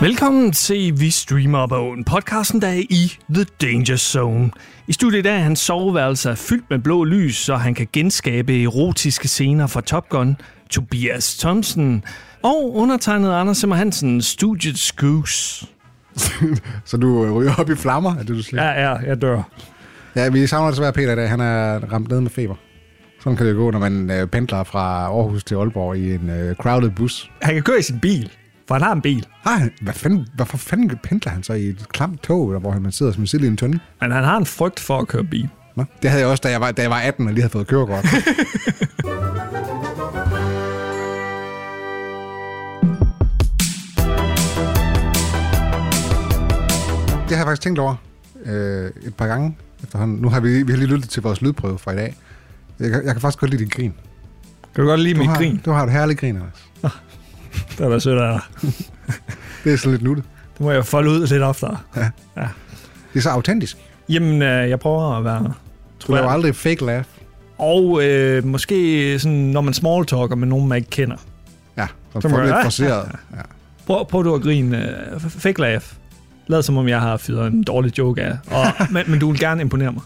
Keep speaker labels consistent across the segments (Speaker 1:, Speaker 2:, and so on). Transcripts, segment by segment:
Speaker 1: Velkommen til Vi Streamer Bogen, podcasten, der er i The Danger Zone. I studiet er hans soveværelse er fyldt med blå lys, så han kan genskabe erotiske scener fra Top Gun, Tobias Thomsen og undertegnet Anders Simmer Hansen, studiets goose.
Speaker 2: så du øh, ryger op i flammer, er det du siger? Ja.
Speaker 1: ja, jeg dør.
Speaker 2: ja vi savner desværre Peter i dag. Han er ramt ned med feber. Sådan kan det jo gå, når man øh, pendler fra Aarhus til Aalborg i en øh, crowded bus.
Speaker 1: Han kan køre i sin bil, for han har en bil.
Speaker 2: Har han, hvad fanden, hvorfor fanden pendler han så i et klamt tog, eller hvor man sidder som en sild i en tønde?
Speaker 1: Men han har en frygt for at køre bil.
Speaker 2: Nå, det havde jeg også, da jeg var, da jeg var 18 og lige havde fået kørekort. det har jeg faktisk tænkt over øh, et par gange efterhånden. Nu har vi, vi har lige lyttet til vores lydprøve fra i dag. Jeg, kan- jeg kan faktisk godt lide dit grin. Du
Speaker 1: Kan du godt lide mit
Speaker 2: har,
Speaker 1: grin?
Speaker 2: Du har et herligt grin, Anders.
Speaker 1: Det er da sødt af dig.
Speaker 2: Det er sådan lidt nuttet.
Speaker 1: Det må jeg folde ud lidt oftere.
Speaker 2: Det er så autentisk.
Speaker 1: Jamen, øh, jeg prøver at være...
Speaker 2: Du laver aldrig fake laugh.
Speaker 1: Og øh, måske sådan, når man smalltalker med nogen, man ikke kender.
Speaker 2: Ja, som
Speaker 1: Som
Speaker 2: får
Speaker 1: er-
Speaker 2: lidt forceret. Ja.
Speaker 1: Prøv, prøv du at grine. Øh, f- fake laugh. Lad som om jeg har fyret en dårlig joke af. Og, men, men du vil gerne imponere mig.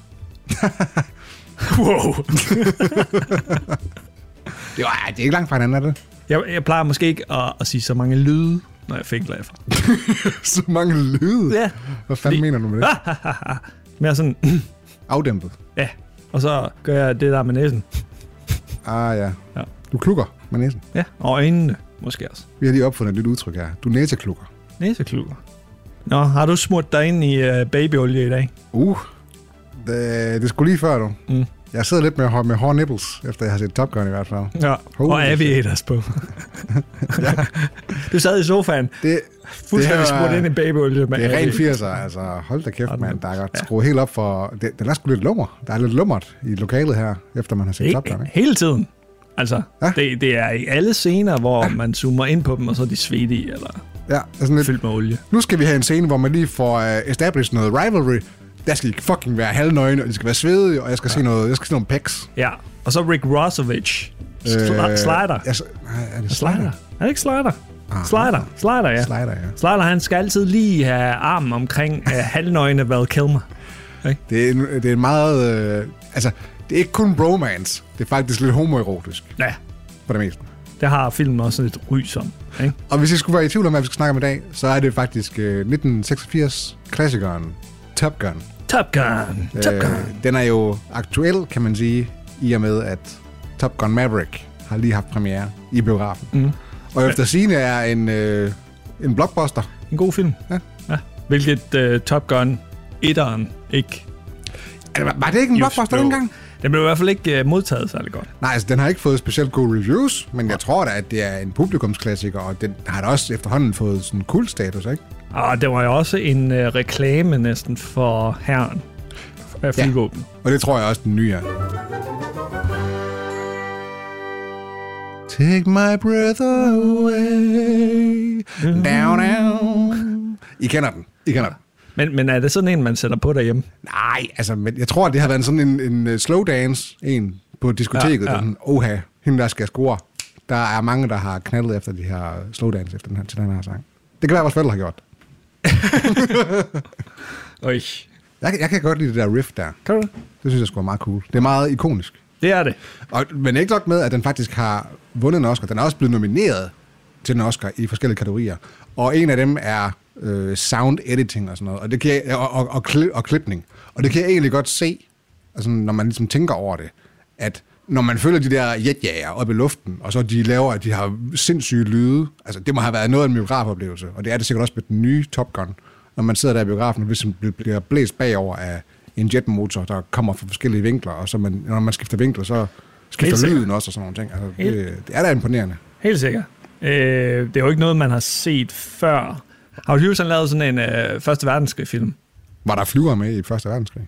Speaker 1: wow.
Speaker 2: Det, er, ej, det er ikke langt fra hinanden, er det?
Speaker 1: Jeg, jeg plejer måske ikke at, at sige så mange lyde, når jeg fake laugh.
Speaker 2: så mange lyde.
Speaker 1: Ja.
Speaker 2: Hvad fanden
Speaker 1: Fordi-
Speaker 2: mener du med det?
Speaker 1: Men jeg er sådan,
Speaker 2: Afdæmpet.
Speaker 1: ja. Og så gør jeg det der med næsen.
Speaker 2: Ah ja.
Speaker 1: Ja.
Speaker 2: Du klukker med næsen.
Speaker 1: Ja. Og øjnene måske også.
Speaker 2: Vi har lige opfundet et nyt udtryk her. Du næseklukker.
Speaker 1: Næsekluger. Nå, har du smurt dig ind i øh, babyolie i dag?
Speaker 2: Uh. Det, det skulle lige før, du.
Speaker 1: Mm.
Speaker 2: Jeg sidder lidt med, hår- med hårde nipples, efter jeg har set Top Gun i hvert fald.
Speaker 1: Ja,
Speaker 2: Holy
Speaker 1: og aviators på. du sad i sofaen,
Speaker 2: Det,
Speaker 1: fuldstændig
Speaker 2: Det er-
Speaker 1: smurt ind i babyolie. med
Speaker 2: det er rent
Speaker 1: aviators.
Speaker 2: 80'er, altså hold da kæft,
Speaker 1: Hold
Speaker 2: mand.
Speaker 1: da-
Speaker 2: Der er godt skruet helt op for... Det, den er sgu lidt lummer. Der er lidt lummert i lokalet her, efter man har set Top Gun,
Speaker 1: He-
Speaker 2: ikke?
Speaker 1: hele tiden. Altså,
Speaker 2: Ja.
Speaker 1: det, det er i alle scener, hvor man zoomer ind på dem, og så er de svedige eller
Speaker 2: Ja, det er sådan lidt...
Speaker 1: fyldt med olie.
Speaker 2: Nu skal vi have en scene, hvor man lige får uh, established noget rivalry. Der skal I fucking være halvnøgne, og de skal være svedige, og jeg skal ja. se noget, jeg skal se nogle pecs.
Speaker 1: Ja, og så Rick Rossovich. Sl-
Speaker 2: Øh,
Speaker 1: slider.
Speaker 2: Ja, så, nej, er det
Speaker 1: Slider. Er det ikke slider? Slider. Slider, ja.
Speaker 2: Ah. Slider, ja.
Speaker 1: Slider, han skal altid lige have armen omkring uh, halvnøgne Val Kilmer.
Speaker 2: Det er, en, det er en meget... Øh, altså, det er ikke kun romance. Det er faktisk lidt homoerotisk,
Speaker 1: Ja,
Speaker 2: på det meste.
Speaker 1: det har filmen også lidt ry som. Ikke?
Speaker 2: Og hvis I skulle være i tvivl om, hvad vi skal snakke om i dag, så er det faktisk øh, 1986-klassikeren Top Gun. Øh,
Speaker 1: Top Gun. Top Gun.
Speaker 2: den er jo aktuel, kan man sige, i og med, at Top Gun Maverick har lige haft premiere i biografen. Mm. Og efter sigende er en, øh, en blockbuster.
Speaker 1: En god film.
Speaker 2: Ja.
Speaker 1: ja. Hvilket uh, Top Gun 1'eren ikke...
Speaker 2: Altså, var- var det ikke en blockbuster
Speaker 1: blev-
Speaker 2: dengang?
Speaker 1: Den blev i hvert fald ikke uh, modtaget særlig godt.
Speaker 2: Nej, altså den har ikke fået specielt gode reviews, men jeg tror da, at det er en publikumsklassiker, og den har da også efterhånden fået sådan en cool status, ikke?
Speaker 1: Og det Ah, var jo også en øh, reklame næsten for herren af flyvåben.
Speaker 2: Og det tror jeg også, den nye er. Take my breath away. Down, down. I kender den. I kender den.
Speaker 1: Men, men er det sådan en, man sætter på derhjemme?
Speaker 2: Nej, altså, men jeg tror, det har været en sådan en, en øh, slow dance, en på diskoteket.
Speaker 1: Ja,
Speaker 2: Ja,
Speaker 1: ja.
Speaker 2: ja. Den, oha, hende der skal score. Der er mange, der har knaldet efter de her slow dance efter den her, til den her sang. Det kan være, at vores forældre har gjort.
Speaker 1: Øj.
Speaker 2: Jeg, kan- jeg kan godt lide det der riff der.
Speaker 1: Kan du det?
Speaker 2: Det synes jeg skulle være meget cool. Det er meget ikonisk.
Speaker 1: Det er det.
Speaker 2: Og, men ikke nok med, at den faktisk har vundet en Oscar. Den er også blevet nomineret til en Oscar i forskellige kategorier. Og en af dem er øh, sound editing og sådan noget, og, det kan jeg, og, og, og, kli, og klipning. Og det kan jeg egentlig godt se, altså, når man ligesom tænker over det, at når man følger de der jetjager op i luften, og så de laver, at de har sindssyge lyde, altså det må have været noget af en biografoplevelse, og det er det sikkert også med den nye Top Gun, når man sidder der i biografen og ligesom bl- bliver blæst bagover af en jetmotor, der kommer fra forskellige vinkler, og så man, når man skifter vinkler, så
Speaker 1: Helt
Speaker 2: skifter
Speaker 1: sikkert.
Speaker 2: lyden også og sådan nogle ting. Altså,
Speaker 1: Helt-
Speaker 2: det, det er da imponerende.
Speaker 1: Helt sikkert. Øh, det er jo ikke noget, man har set før. Har Hughes han lavet sådan en øh, første verdenskrig film?
Speaker 2: Var der flyver med i Første Verdenskrig?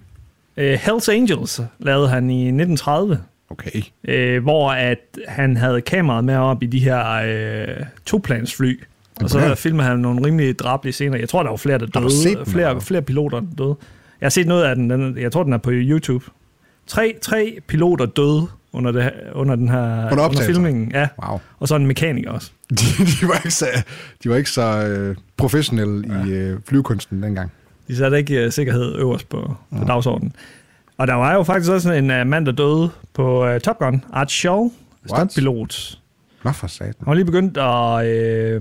Speaker 1: Øh, Hells Angels lavede han i 1930.
Speaker 2: Okay.
Speaker 1: øh, hvor at han havde kameraet med op i de her øh, toplansfly. Og så
Speaker 2: Imponerende.
Speaker 1: filmede han nogle rimelig drabelige scener. Jeg tror, der var flere, der
Speaker 2: Har du set
Speaker 1: døde.
Speaker 2: den,
Speaker 1: Flere,
Speaker 2: eller?
Speaker 1: flere piloter, der døde. Jeg har set noget af den. den. Jeg tror, den er på YouTube. Tre, tre piloter døde under, det, under den her
Speaker 2: Under
Speaker 1: under
Speaker 2: optagelser?
Speaker 1: filmingen. Ja.
Speaker 2: Wow.
Speaker 1: Og så en mekaniker også.
Speaker 2: De, de var ikke så, de var ikke så øh, professionelle ja. i øh, flyvekunsten dengang.
Speaker 1: De satte ikke uh, sikkerhed øverst på, på dagsordenen. Og der var jo faktisk også en uh, mand, der døde på uh, Top Gun. Art Shaw, stuntpilot.
Speaker 2: Nå for satan.
Speaker 1: Han var lige begyndt at øh,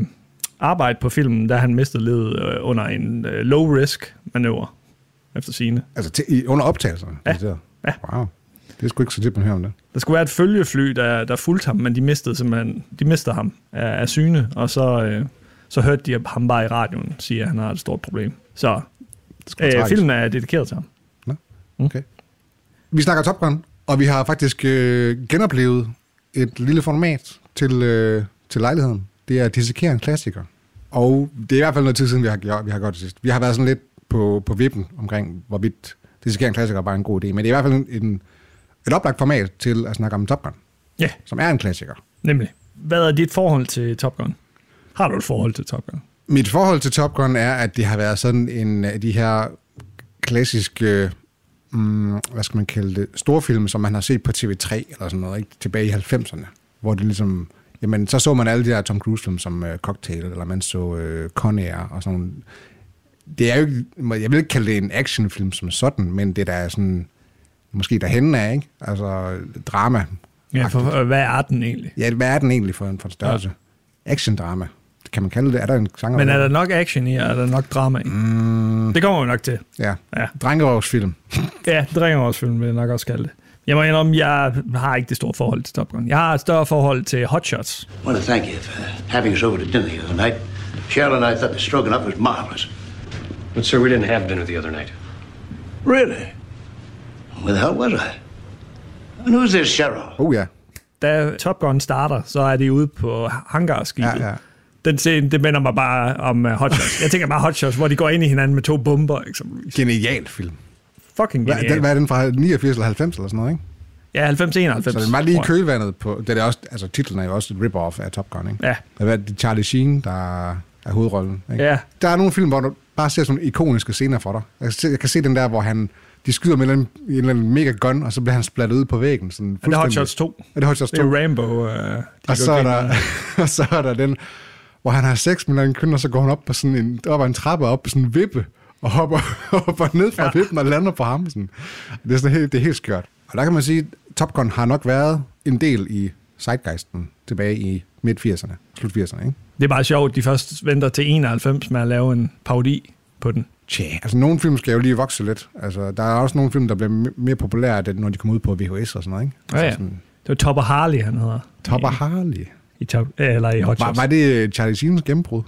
Speaker 1: arbejde på filmen, da han mistede livet øh, under en øh, low-risk manøvre efter sine.
Speaker 2: Altså til, i, under optagelserne?
Speaker 1: Ja.
Speaker 2: decideret?
Speaker 1: Ja.
Speaker 2: Wow. Det er sgu ikke så tit, man hører om det.
Speaker 1: Der skulle være et følgefly, der, der fulgte ham, men de mistede, simpelthen, de mistede ham af, af syne, og så, øh, så hørte de ham bare i radioen sige, at han har et stort problem. Så
Speaker 2: det er sgu
Speaker 1: øh,
Speaker 2: tragisk.
Speaker 1: filmen er dedikeret til ham.
Speaker 2: Okay. Vi snakker Top Gun, og vi har faktisk øh, genoplevet et lille format til, øh, til lejligheden. Det er at dissekere en klassiker. Og det er i hvert fald noget tid siden, vi har, gjort- vi har gjort det sidst. Vi har været sådan lidt på, på vippen omkring, hvorvidt dissekere en klassiker var en god idé. Men det er i hvert fald en, et oplagt format til at snakke om Top Gun,
Speaker 1: Ja,
Speaker 2: som er en klassiker.
Speaker 1: nemlig. Hvad er dit forhold til Top Gun? Har du et forhold til Top Gun?
Speaker 2: Mit forhold til Top Gun er, at det har været sådan en af de her klassiske, mm, hvad skal man kalde det, storfilm, som man har set på TV3 eller sådan noget, ikke? tilbage i 90'erne, hvor det ligesom, jamen så så man alle de der Tom Cruise-film som øh, Cocktail, eller man så øh, Con Air og sådan nogle- Det er jo ikke, jeg vil ikke kalde det en actionfilm som sådan, men det der er sådan, måske derhen af, ikke? Altså drama.
Speaker 1: Ja, for, øh, hvad er arten egentlig?
Speaker 2: Ja, hvad er den egentlig for en, for en størrelse? Ja. Action-drama. Kan man kalde det? Er der en genre?
Speaker 1: Men er der nok action i, og er der nok drama i? Mm. Det kommer vi nok til.
Speaker 2: Ja.
Speaker 1: Ja.
Speaker 2: Drengerøvsfilm.
Speaker 1: Ja, Drengerøvsfilm vil jeg nok også kalde det. Jeg må indrømme, jeg har ikke det store forhold til Top Gun. Jeg har et større forhold til Hot Shots.
Speaker 3: I want to thank you for having us over to dinner the other night. Cheryl and I thought the stroking up was marvelous.
Speaker 4: But, sir, we didn't have dinner the other night.
Speaker 3: Really? Where the hell was I? And who's this Cheryl?
Speaker 2: Oh ja.
Speaker 1: Da Top Gun starter, så er de ude på hangarskibet.
Speaker 2: Ja, ja.
Speaker 1: Den scene, det minder mig bare om uh, Hot Shots. Jeg tænker bare Hot Shots, hvor de går ind i hinanden med to bomber, eksempelvis.
Speaker 2: Genial film.
Speaker 1: Fucking
Speaker 2: Hvad, den,
Speaker 1: genial.
Speaker 2: hvad er den fra 89 eller 90 eller sådan noget, ikke?
Speaker 1: Ja, 90 91.
Speaker 2: Så den var lige i kølvandet på... Det er også, altså, titlen er jo også et rip-off af Top Gun, ikke?
Speaker 1: Ja.
Speaker 2: Hvad er det Charlie Sheen, der er hovedrollen, ikke?
Speaker 1: Ja.
Speaker 2: Der er nogle film, hvor du bare ser sådan ikoniske scener for dig. Jeg kan se, jeg kan se den der, hvor han... De skyder med en eller anden, en eller anden mega gun, og så bliver han splattet ud på væggen. Sådan
Speaker 1: Er det Hot
Speaker 2: fuldstændig.
Speaker 1: Shots 2?
Speaker 2: Er det Hot Shots
Speaker 1: Det
Speaker 2: 2?
Speaker 1: er Rambo. Øh, de går
Speaker 2: Og så, er
Speaker 1: grin
Speaker 2: der,
Speaker 1: af.
Speaker 2: og så er der den, hvor han har sex med en eller anden kvinde, og så går hun op på sådan en, op ad en trappe, og op på sådan en vippe, og hopper, hopper ned fra ja. vippen og lander på ham. Sådan. Det, er sådan helt, det er helt skørt. Og der kan man sige, at Top Gun har nok været en del i Zeitgeisten tilbage i midt-80'erne, slut-80'erne. Ikke?
Speaker 1: Det er bare sjovt, de først venter til 91 med at lave en parodi på den.
Speaker 2: Tja, altså nogle film skal jo lige vokse lidt. Altså, der er også nogle film, der bliver me- mere populære, da- når de kommer ud på VHS og sådan noget. Ikke?
Speaker 1: Ja, ja.
Speaker 2: Altså,
Speaker 1: Det var Topper Harley, han hedder.
Speaker 2: Topper Harley.
Speaker 1: I top, eller i Hot
Speaker 2: Var,
Speaker 1: Shots.
Speaker 2: var det Charlie Sheens gennembrud?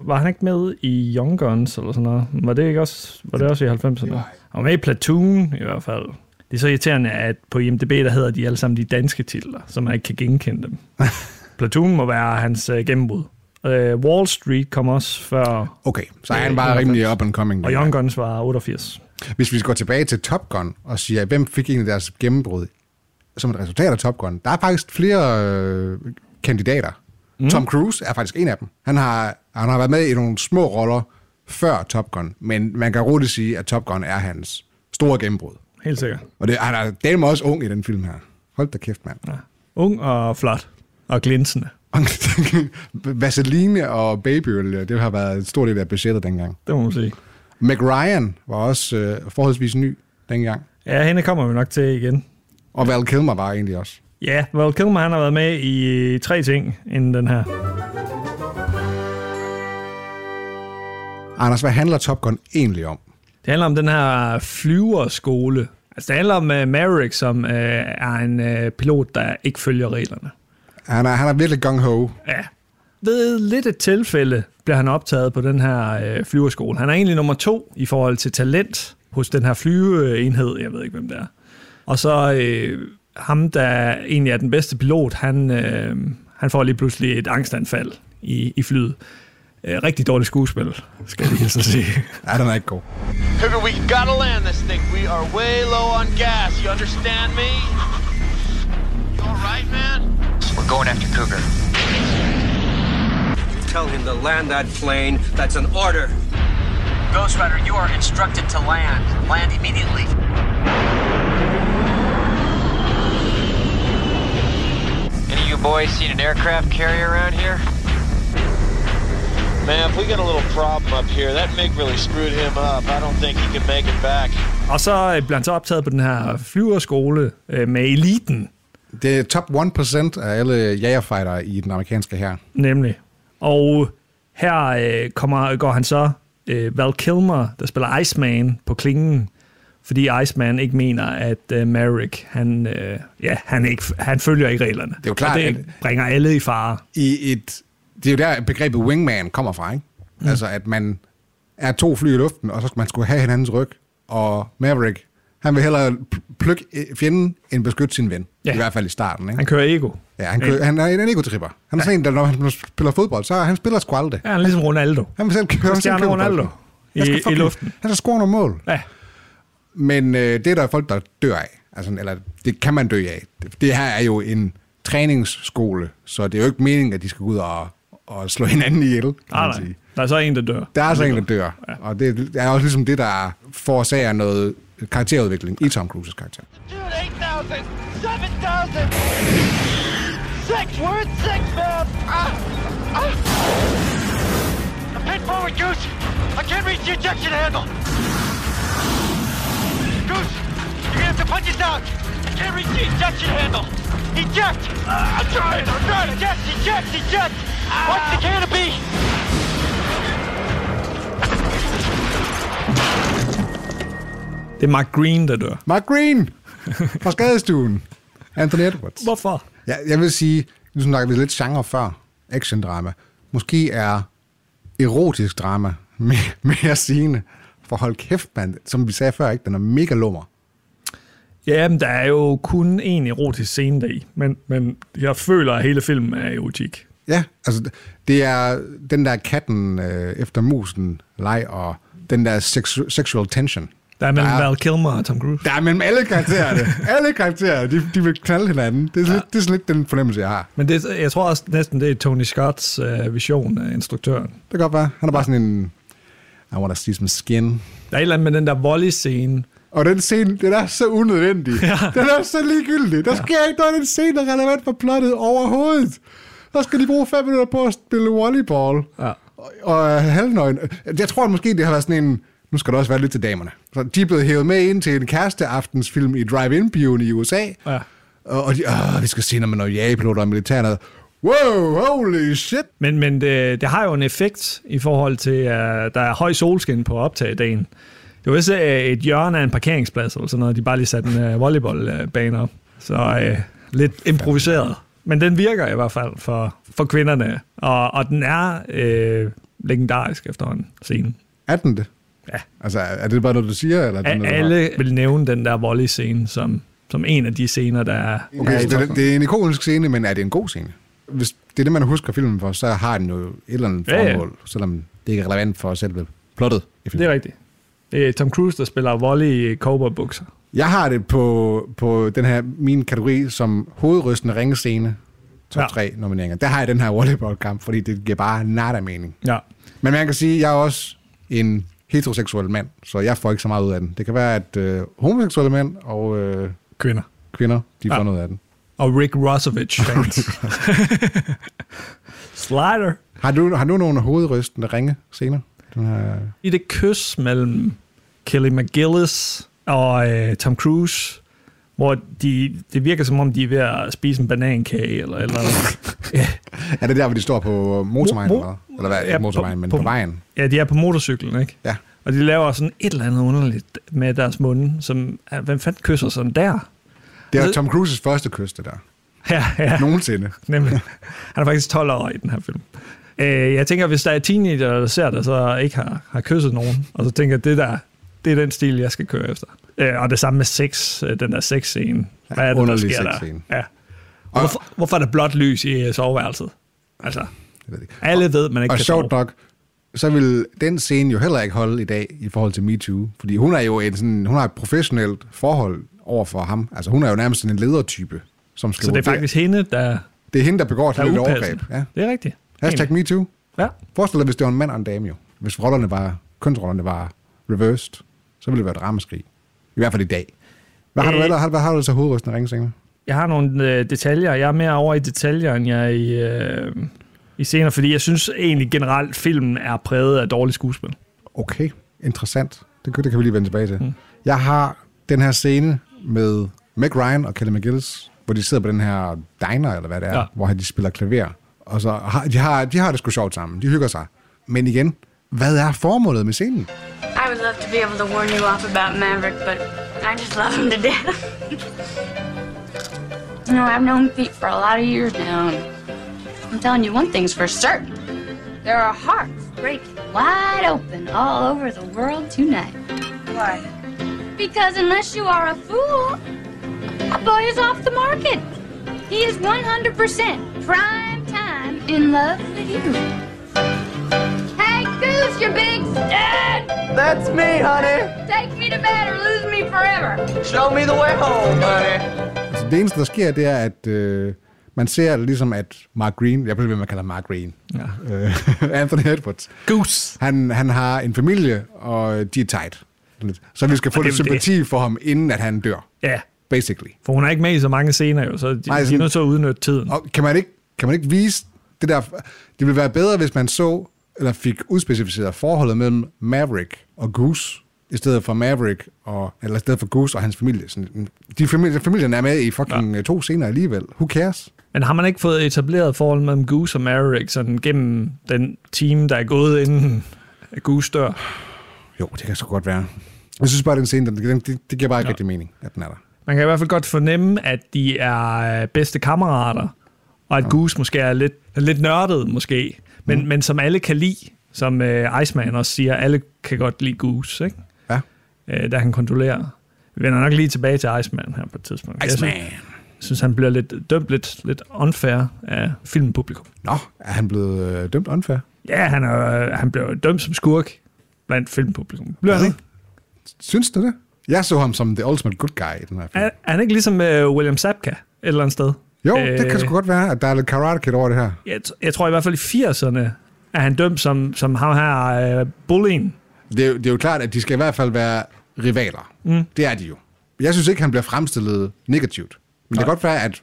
Speaker 1: Var han ikke med i Young Guns eller sådan noget? Var det ikke også, var det også i 90'erne? Han var med i Platoon i hvert fald. Det er så irriterende, at på IMDb, der hedder de alle sammen de danske titler, så man ikke kan genkende dem. Platoon må være hans øh, gennembrud. Øh, Wall Street kom også før,
Speaker 2: Okay, så er han bare rimelig up and coming.
Speaker 1: og Young Guns var 88.
Speaker 2: Hvis vi går tilbage til Top Gun og siger, hvem fik egentlig deres gennembrud som et resultat af Top Gun, der er faktisk flere øh, kandidater. Mm. Tom Cruise er faktisk en af dem. Han har, han har været med i nogle små roller før Top Gun, men man kan roligt sige, at Top Gun er hans store gennembrud.
Speaker 1: Helt sikkert.
Speaker 2: Og det, han er dem også ung i den film her. Hold da kæft, mand. Ja.
Speaker 1: Ung og flot og glinsende.
Speaker 2: Vaseline og babyolie, det har været en stor del af budgettet dengang.
Speaker 1: Det må man sige.
Speaker 2: Mac Ryan var også øh, forholdsvis ny dengang.
Speaker 1: Ja, hende kommer vi nok til igen.
Speaker 2: Og Val Kilmer var egentlig også.
Speaker 1: Ja, Val Kilmer han har været med i tre ting inden den her.
Speaker 2: Anders, hvad handler Top Gun egentlig om?
Speaker 1: Det handler om den her flyverskole. Altså, det handler om uh, Maverick, som uh, er en uh, pilot, der ikke følger reglerne.
Speaker 2: Han er, han er virkelig gung-ho.
Speaker 1: Ja. Ved lidt et tilfælde bliver han optaget på den her uh, flyverskole. Han er egentlig nummer to i forhold til talent hos den her flyveenhed. Jeg ved ikke, hvem det er. Og så øh, ham, der egentlig er den bedste pilot, han, øh, han får lige pludselig et angstanfald i, i flyet. Øh, rigtig dårligt skuespil, skal jeg lige så sige.
Speaker 2: Ja, den er ikke god.
Speaker 5: Hooker, we gotta land this thing. We are way low on gas. You understand me? You all right, man?
Speaker 6: We're going after Cougar.
Speaker 4: You tell him to land that plane. That's an order.
Speaker 6: Ghost Rider, you are instructed to land. Land immediately. boys seen an aircraft carrier around here?
Speaker 5: Man, if we got a little problem up here, that MiG really screwed him up. I don't think he can make it back.
Speaker 1: Og så øh, blev han så optaget på den her flyverskole øh, med eliten,
Speaker 2: Det er top 1% af alle jagerfightere i den amerikanske her.
Speaker 1: nemlig. Og her øh, kommer, går han så øh, Val Kilmer, der spiller Iceman, på klingen, fordi Iceman ikke mener, at øh, Merrick, han, øh, ja, han, ikke, han følger ikke reglerne.
Speaker 2: jo klart,
Speaker 1: Og det
Speaker 2: at-
Speaker 1: bringer alle i fare.
Speaker 2: I et, det er jo der begrebet wingman kommer fra, ikke? Mm. Altså, at man er to fly i luften, og så skal man skulle have hinandens ryg. Og Maverick, han vil hellere pl- plukke øh, fjenden, end beskytte sin ven.
Speaker 1: Ja.
Speaker 2: Ja. I hvert fald i starten, ikke?
Speaker 1: Han kører ego.
Speaker 2: Ja, han, kø- han er en ego-tripper. Han er sådan en, der når han spiller fodbold, så han spiller sgu aldrig.
Speaker 1: Ja, han er ligesom Ronaldo.
Speaker 2: Han vil selv køre. Han vil selv
Speaker 1: Cristiano
Speaker 2: købe
Speaker 1: Ronaldo
Speaker 2: bolden. Han skal
Speaker 1: i, i
Speaker 2: fucking-
Speaker 1: luften.
Speaker 2: Han skal score nogle mål.
Speaker 1: Ja,
Speaker 2: Men øh, det er der folk, der dør af. Altså, eller det kan man dø af. Det, det her er jo en træningsskole, så det er jo ikke meningen, at de skal gå ud og, og slå hinanden ihjel, kan
Speaker 1: nej,
Speaker 2: man
Speaker 1: nej.
Speaker 2: sige.
Speaker 1: Der er så en, der dør.
Speaker 2: Der er altså en, der dør. Og det er også ligesom det, der forårsager noget karakterudvikling i Tom Cruises karakter.
Speaker 5: Dude, 8,000! 7,000! Six words, six mouth! Ah! Ah! I'm head forward, Goose! I can't reach the ejection handle! Goose, you're gonna have to punch us out! I can't reach the ejection handle! Eject! Ah, I'm trying, I'm trying! Eject, eject, eject! Watch the canopy!
Speaker 1: Det er Mark Green, der dør.
Speaker 2: Mark Green fra skadestuen. Anthony Edwards.
Speaker 1: Hvorfor?
Speaker 2: Ja, jeg vil sige, nu snakker vi lidt genre før, action-drama. Måske er erotisk drama mere, mere sigende. For hold kæft, man, som vi sagde før, ikke? den er mega lummer.
Speaker 1: Jamen, der er jo kun en erotisk scene deri, men, men jeg føler, at hele filmen er erotik.
Speaker 2: Ja, altså det er den der katten øh, efter musen leg og den der sexu- sexual tension.
Speaker 1: Der er mellem
Speaker 2: Der er-
Speaker 1: Val Kilmer og Tom Cruise.
Speaker 2: Der er mellem alle karaktererne. alle karakterer, de, de vil knalde hinanden. Det er, ja. lidt, det er sådan lidt den fornemmelse, jeg har.
Speaker 1: Men det, jeg tror også næsten, det er Tony Scotts øh, vision af instruktøren.
Speaker 2: Det kan godt være. Han er bare sådan en... I want to see some skin.
Speaker 1: Der er et eller andet med den der volley-scene.
Speaker 2: Og den scene, den er så unødvendig. Ja. Den er så ligegyldig. Der sker ikke noget i den scene, der er relevant for plottet overhovedet. Der skal de bruge fem minutter på at spille volleyball.
Speaker 1: Ja.
Speaker 2: Og, og øh, halvnøgen. Jeg tror måske, det har været sådan en... Nu skal der også være lidt til damerne. Så de er blevet hævet med ind til en kæresteaftensfilm i Drive-In-bioen i USA.
Speaker 1: Ja.
Speaker 2: Og, og de, åh, vi skal se, når man er jagepiloter og militær. noget." Wow, holy shit.
Speaker 1: Men, men det, det har jo en effekt i forhold til, at der er høj solskin på optagedagen. Det var vist øh, et hjørne af en parkeringsplads eller sådan noget, de bare lige satte en øh, volleyballbane op. Så øh, lidt improviseret. Men den virker i hvert fald for, for kvinderne, og, og den er øh, legendarisk efterhånden, scenen.
Speaker 2: Er den det?
Speaker 1: Ja.
Speaker 2: Altså, er det bare noget, du siger? Eller er det
Speaker 1: A-
Speaker 2: noget, du har?
Speaker 1: alle vil nævne den der volley-scene som, som en af de scener, der er...
Speaker 2: Okay, så det, det er en ikonisk scene, men er det en god scene? Hvis det er det, man husker filmen for, så har den jo et eller andet
Speaker 1: Ja, ja.
Speaker 2: formål, selvom det ikke er relevant for selve plottet i filmen.
Speaker 1: det er rigtigt. Det er Tom Cruise, der spiller volley i cowboybukser.
Speaker 2: Jeg har det på, på den her min kategori som hovedrystende ringescene, top
Speaker 1: Ja.
Speaker 2: ja. 3 nomineringer. Der har jeg den her volleyballkamp, fordi det giver bare nada mening.
Speaker 1: Ja.
Speaker 2: Men man kan sige, at jeg er også en heteroseksuel mand, så jeg får ikke så meget ud af den. Det kan være, at øh, homoseksuelle mænd og øh,
Speaker 1: Kvinder.
Speaker 2: kvinder, de
Speaker 1: Ja.
Speaker 2: får noget af den.
Speaker 1: Og Rick Rossovich. fans. Slider.
Speaker 2: Har du, har du nogle hovedrystende ringe scener? Den her
Speaker 1: I det kys mellem Kelly McGillis og øh, Tom Cruise, hvor de, det virker som om, de er ved at spise en banankage eller eller andet.
Speaker 2: Er det der, hvor de står på øh, motorvejen?
Speaker 1: Mo-
Speaker 2: Mo-
Speaker 1: mo-
Speaker 2: eller, hvad? eller hvad?
Speaker 1: Ja,
Speaker 2: Ja, ikke motorvejen,
Speaker 1: på-
Speaker 2: men
Speaker 1: på-
Speaker 2: på, vejen.
Speaker 1: Ja, de er på motorcyklen, ikke?
Speaker 2: Ja.
Speaker 1: Og de laver sådan et eller andet underligt med deres munde, som, ah, hvem fanden kysser sådan der?
Speaker 2: Det er
Speaker 1: Ved-
Speaker 2: jo Tom Cruises første kyst, det der.
Speaker 1: Ja, ja.
Speaker 2: Nogensinde.
Speaker 1: Nemlig. Han er faktisk 12 år i den her film. Øh, jeg tænker, hvis der er teenager, der ser det, så ikke har, har kysset nogen, og så tænker jeg, det der, det er den stil, jeg skal køre efter. Øh, og det samme med sex, øh, den der sex-scene. Hvad er det, der
Speaker 2: underlig
Speaker 1: sker der?
Speaker 2: sexscene.
Speaker 1: Ja. Og hvorfor, hvorfor er der blåt lys i øh, soveværelset? Altså,
Speaker 2: Jeg ved det ikke.
Speaker 1: alle ved, man ikke
Speaker 2: Og
Speaker 1: kan
Speaker 2: sjovt
Speaker 1: sove.
Speaker 2: nok, så vil den scene jo heller ikke holde i dag i forhold til MeToo. Fordi hun er jo en sådan, hun har et professionelt forhold over for ham. Altså hun er jo nærmest sådan en ledertype, som skal
Speaker 1: Så det er
Speaker 2: vurdere-
Speaker 1: faktisk hende, der,
Speaker 2: det er hende, der begår et
Speaker 1: der er
Speaker 2: lille
Speaker 1: upassende.
Speaker 2: overgreb. Ja.
Speaker 1: Det er rigtigt.
Speaker 2: Hashtag MeToo.
Speaker 1: Ja.
Speaker 2: Forestil dig, hvis det var en mand og en dame jo. Hvis rollerne var, kønsrollerne var reversed, så ville det være et ramaskrig. I hvert fald i dag. Hvad har du
Speaker 1: Øh.
Speaker 2: ellers? Har, hvad har du så hovedrystende ringsænger?
Speaker 1: Jeg har nogle øh, detaljer. Jeg er mere over i detaljer, end jeg er i, øh, i scener, fordi jeg synes egentlig generelt, filmen er præget af dårligt skuespil.
Speaker 2: Okay, interessant. Det, kan- det kan vi lige vende tilbage til. Mm. Jeg har den her scene med Meg Ryan og Kelly McGillis, hvor de sidder på den her diner, eller hvad det er,
Speaker 1: Ja.
Speaker 2: ja. hvor de spiller klaver. Og så har, de, har, de har det sgu sjovt sammen. De hygger sig. Men igen, hvad er formålet med scenen?
Speaker 7: I would love to be able to warn you off about Maverick, but I just love him to death. you know, I've known Pete for a lot of years now. and I'm telling you one thing's for certain. There are hearts breaking wide open all over the world tonight. Why? Because unless you are a fool, a boy is off the market. He is 100% prime time in love with you. Hey, Goose, you big stud!
Speaker 5: That's me, honey.
Speaker 7: Take me to bed or lose me forever.
Speaker 5: Show me the way home, honey.
Speaker 2: Altså, det eneste, der sker, det er, at øh, man ser det ligesom, at Mark Green, jeg bliver ved med at kalde ham Mark Green, ja. øh, Anthony Edwards,
Speaker 1: Goose!
Speaker 2: han, han har en familie, og de er tight. Så vi skal få
Speaker 1: Og det er
Speaker 2: lidt
Speaker 1: vel det.
Speaker 2: sympati for ham, inden at han dør,
Speaker 1: Ja,
Speaker 2: basically.
Speaker 1: for hun er ikke med i så mange scener jo, så de,
Speaker 2: Nej,
Speaker 1: Nej, de er
Speaker 2: sådan-
Speaker 1: nødt til at udnytte tiden.
Speaker 2: Og kan man ikke, kan man ikke vise det der... Det ville være bedre, hvis man så, eller fik udspecificeret forholdet mellem Maverick og Goose, i stedet for Maverick og, eller i stedet for Goose og hans familie. Sådan, mm, de familie, familien er med i fucking ja. to scener alligevel. Who cares?
Speaker 1: Men har man ikke fået etableret forhold mellem Goose og Maverick sådan gennem den time, der er gået inden Goose dør?
Speaker 2: Jo, det kan så godt være. Jeg synes bare, den scene, den, den, det, det giver bare ikke ja. rigtig mening, at den er der.
Speaker 1: Man kan i hvert fald godt fornemme, at de er øh, bedste kammerater, og at Goose måske er lidt, lidt nørdet, måske. Men, mm. men som alle kan lide, som øh, Iceman også siger, alle kan godt lide Goose, ikke?
Speaker 2: Ja.
Speaker 1: Øh, da han kontrollerer. Vi vender nok lige tilbage til Iceman her på et tidspunkt. Jeg synes, synes, han bliver lidt dømt lidt, lidt unfair af filmpublikum.
Speaker 2: Nå, er han blevet øh, dømt unfair?
Speaker 1: Ja, han, er, øh, han blev dømt som skurk blandt filmpublikum. Bliver han ikke?
Speaker 2: Synes du det? Jeg så ham som the ultimate good guy i den her
Speaker 1: Er,
Speaker 2: film.
Speaker 1: er han ikke ligesom øh, William Sapka et eller andet sted?
Speaker 2: Jo, øh, det kan sgu godt være, at der er lidt karate kid over det her.
Speaker 1: Jeg, t- jeg tror i hvert fald i 80'erne er han dømt som, som ham her, øh, Bullien.
Speaker 2: Det er, jo- det er jo klart, at de skal i hvert fald være rivaler. Mm. Det er de jo. Jeg synes ikke, han bliver fremstillet negativt. Men det kan godt være, at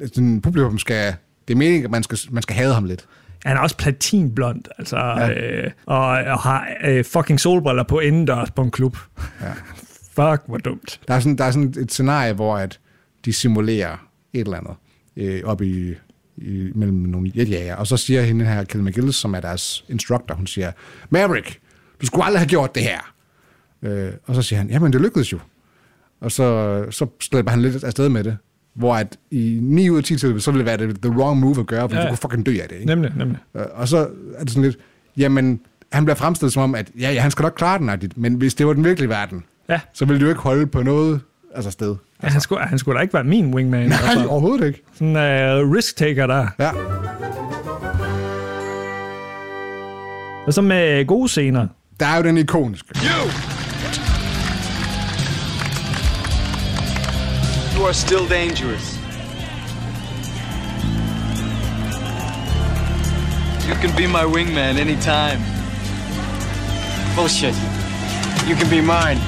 Speaker 2: sådan, publikum skal... Det er meningen, at man skal, man skal hade ham lidt.
Speaker 1: Han er også platinblond, altså, ja. øh, og, og har øh, fucking solbriller på indendørs på en klub.
Speaker 2: Ja.
Speaker 1: Fuck, hvor dumt.
Speaker 2: Der er sådan, der er sådan et scenarie, hvor at de simulerer et eller andet øh, op i, i, mellem nogle jetjager. Og så siger hende her, Kelly McGillis, som er deres instructor, hun siger, Maverick, du skulle aldrig have gjort det her. Øh, og så siger han, jamen det lykkedes jo. Og så, så slæber han lidt afsted med det. Hvor at i 9 ud af 10 tilfælde, så ville det være det, the wrong move at gøre, for
Speaker 1: Ja,
Speaker 2: ja.
Speaker 1: ja.
Speaker 2: du kunne fucking dø af det. Ikke?
Speaker 1: Nemlig, nemlig.
Speaker 2: Øh, Og så er det sådan lidt, jamen, han bliver fremstillet som om, at ja, ja han skal nok klare den, agtigt, men hvis det var den virkelige verden,
Speaker 1: Ja.
Speaker 2: så ville du ikke holde på noget altså sted.
Speaker 1: Ja, han, skulle, han skulle da ikke være min wingman.
Speaker 2: Nej,
Speaker 1: altså.
Speaker 2: overhovedet ikke.
Speaker 1: Sådan en uh, risk-taker der.
Speaker 2: Ja.
Speaker 1: Og så med gode scener.
Speaker 2: Der er jo den ikoniske.
Speaker 8: You are still dangerous. You can be my wingman anytime. Bullshit. You can be mine.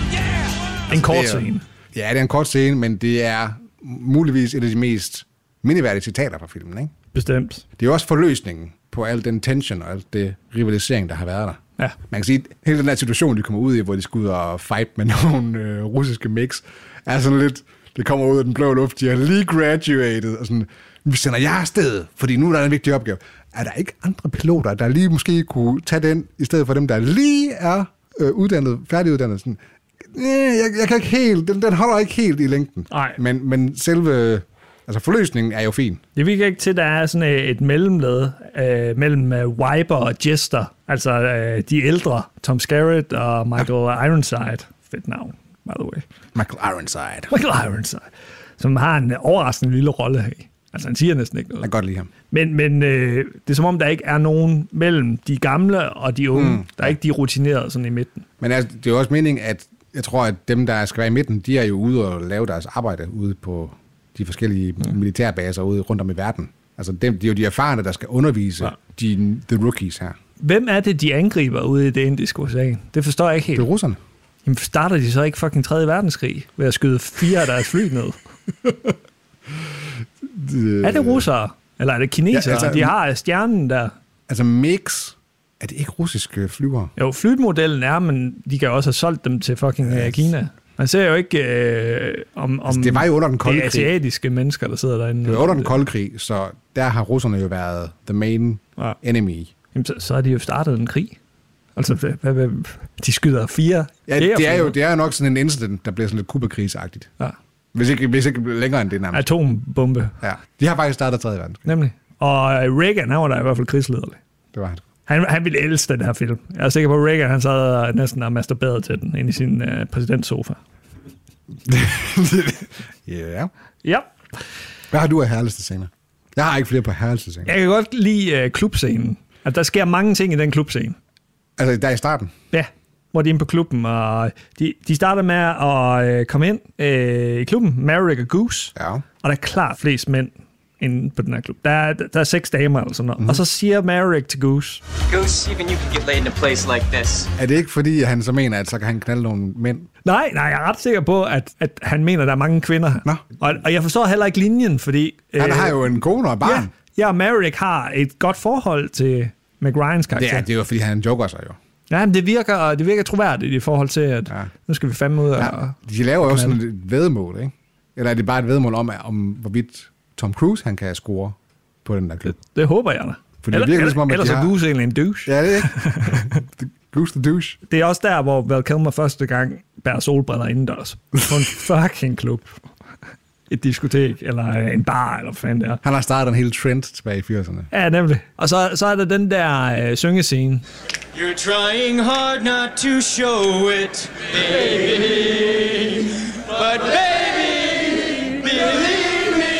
Speaker 1: En kort
Speaker 2: Altså, Det er-
Speaker 1: scene.
Speaker 2: Ja, det er en kort scene, men det er muligvis et af de mest mindeværdige citater fra filmen. Ikke?
Speaker 1: Bestemt.
Speaker 2: Det er jo også forløsningen på al den tension og al det rivalisering, der har været der.
Speaker 1: Ja.
Speaker 2: Man kan sige, at hele den her situation, de kommer ud i, hvor de skal ud og fight med nogle øh, russiske mix, er sådan lidt, det kommer ud af den blå luft, de har lige graduated, og sådan, vi sender jer afsted, fordi nu er der en vigtig opgave. Er der ikke andre piloter, der lige måske kunne tage den, i stedet for dem, der lige er øh, uddannet, færdiguddannet? Sådan, "Øh, jeg, jeg kan ikke helt, den, den holder ikke helt i længden.
Speaker 1: Nej.
Speaker 2: Men, men selve, altså forløsningen er jo fin.
Speaker 1: Det virker ikke til, at der er sådan øh, et mellemled øh, mellem øh, Viper og Jester. Altså øh, de ældre, Tom Skerritt og Michael ja. Ironside. Fedt navn, by the way.
Speaker 2: Michael Ironside.
Speaker 1: Michael Ironside, som har en øh, overraskende lille rolle her. i. Altså han siger næsten ikke
Speaker 2: Jeg kan
Speaker 1: noget.
Speaker 2: godt lide ham.
Speaker 1: Men, men øh, det er som om, der ikke er nogen mellem de gamle og de unge. Mm. Der er ikke de rutinerede sådan i midten.
Speaker 2: Men altså, det er jo også meningen, at jeg tror, at dem, der skal være i midten, de er jo ude og lave deres arbejde ude på de forskellige militærbaser ude rundt om i verden. Altså, dem, de er jo de erfarne, der skal undervise ja. de, the rookies her.
Speaker 1: Hvem er det, de angriber ude i det indiske ocean? Det forstår jeg ikke
Speaker 2: Det er
Speaker 1: helt.
Speaker 2: russerne.
Speaker 1: Jamen starter de så ikke fucking 3. verdenskrig ved at skyde fire af deres fly ned? Er det russere? Eller er det kinesere? Ja,
Speaker 2: Ja,
Speaker 1: altså,
Speaker 2: altså-
Speaker 1: de har stjernen der.
Speaker 2: Altså mix, er det ikke russiske flyvere?
Speaker 1: Jo, flytmodellen er, men de kan også have solgt dem til fucking øh, Kina. Man ser jo ikke, øh, om, om altså,
Speaker 2: altså. det var jo under den kolde
Speaker 1: det er
Speaker 2: krig.
Speaker 1: asiatiske mennesker, der sidder derinde.
Speaker 2: Det var under den kolde krig, så der har russerne jo været the main
Speaker 1: Ja.
Speaker 2: ja. enemy.
Speaker 1: Jamen, så, så har de jo startet en krig. Altså, hvad, hvad, hvad, de skyder fire.
Speaker 2: Ja, det er jo
Speaker 1: jægerfly.
Speaker 2: det er jo nok sådan en incident, der bliver sådan lidt kubakrigsagtigt.
Speaker 1: Ja.
Speaker 2: Hvis ikke, hvis ikke længere end det nærmest.
Speaker 1: Atombombe,
Speaker 2: Ja. De har faktisk startet 3. verdenskrig.
Speaker 1: nemlig. Og øh, Reagan, han var da i hvert fald krigslederlig.
Speaker 2: Det var han.
Speaker 1: Han, han ville elske den her film. Jeg er sikker på, at Reagan han sad og næsten og masturberede til den inde i sin øh, præsidentsofa.
Speaker 2: Ja.
Speaker 1: Ja,
Speaker 2: Hvad har du af herligste scener? Jeg har ikke flere på herligste scener.
Speaker 1: jeg kan godt lide øh, klubscenen. At der sker mange ting i den klubscene.
Speaker 2: Altså, der i starten.
Speaker 1: Ja, hvor de er inde på klubben, og de, de starter med at øh, komme ind øh, i klubben, Merrick og Goose,
Speaker 2: Ja.
Speaker 1: og der er klart flest mænd inde på den her klub. Der er, der er seks damer eller sådan noget.
Speaker 2: Mhm.
Speaker 1: Mm-hmm. Og så siger Merrick til Goose,
Speaker 8: Goose, even you can get laid in a place like this.
Speaker 2: Er det ikke fordi, at han så mener, at så kan han knalde nogle mænd?
Speaker 1: Nej, nej, jeg er ret sikker på, at, at han mener, at der er mange kvinder.
Speaker 2: Nå.
Speaker 1: Og, og jeg forstår heller ikke linjen, fordi... øh,
Speaker 2: Han har jo en kone og et barn.
Speaker 1: Ja, jeg og Merrick har et godt forhold til McRyans
Speaker 2: Det
Speaker 1: karakter.
Speaker 2: er, det er jo, fordi han joker sig jo.
Speaker 1: Ja, men det virker, det virker troværdigt i forhold til, at ja.
Speaker 2: Ja.
Speaker 1: nu skal vi fandme ud og...
Speaker 2: Ja,
Speaker 1: Ja.
Speaker 2: de laver jo sådan et vedmål, ikke? Eller er det bare et vedmål om, om hvorvidt Tom Cruise han kan score på den der klub?
Speaker 1: Det håber jeg da.
Speaker 2: For det virker ligesom om, at
Speaker 1: ellers
Speaker 2: de
Speaker 1: er
Speaker 2: har-
Speaker 1: Goose egentlig en douche. Ja.
Speaker 2: Ja, det er ikke. Goose the douche.
Speaker 1: Det er også der, hvor Val Kilmer første gang bærer solbriller indendørs. På en fucking klub. Et diskotek, eller en bar, eller hvad fanden det er.
Speaker 2: Han har startet en hel trend tilbage i 80'erne.
Speaker 1: Ja, nemlig. Og så, så er der den der øh, syngescene,
Speaker 8: You're trying hard not to show it, baby. But baby, believe me,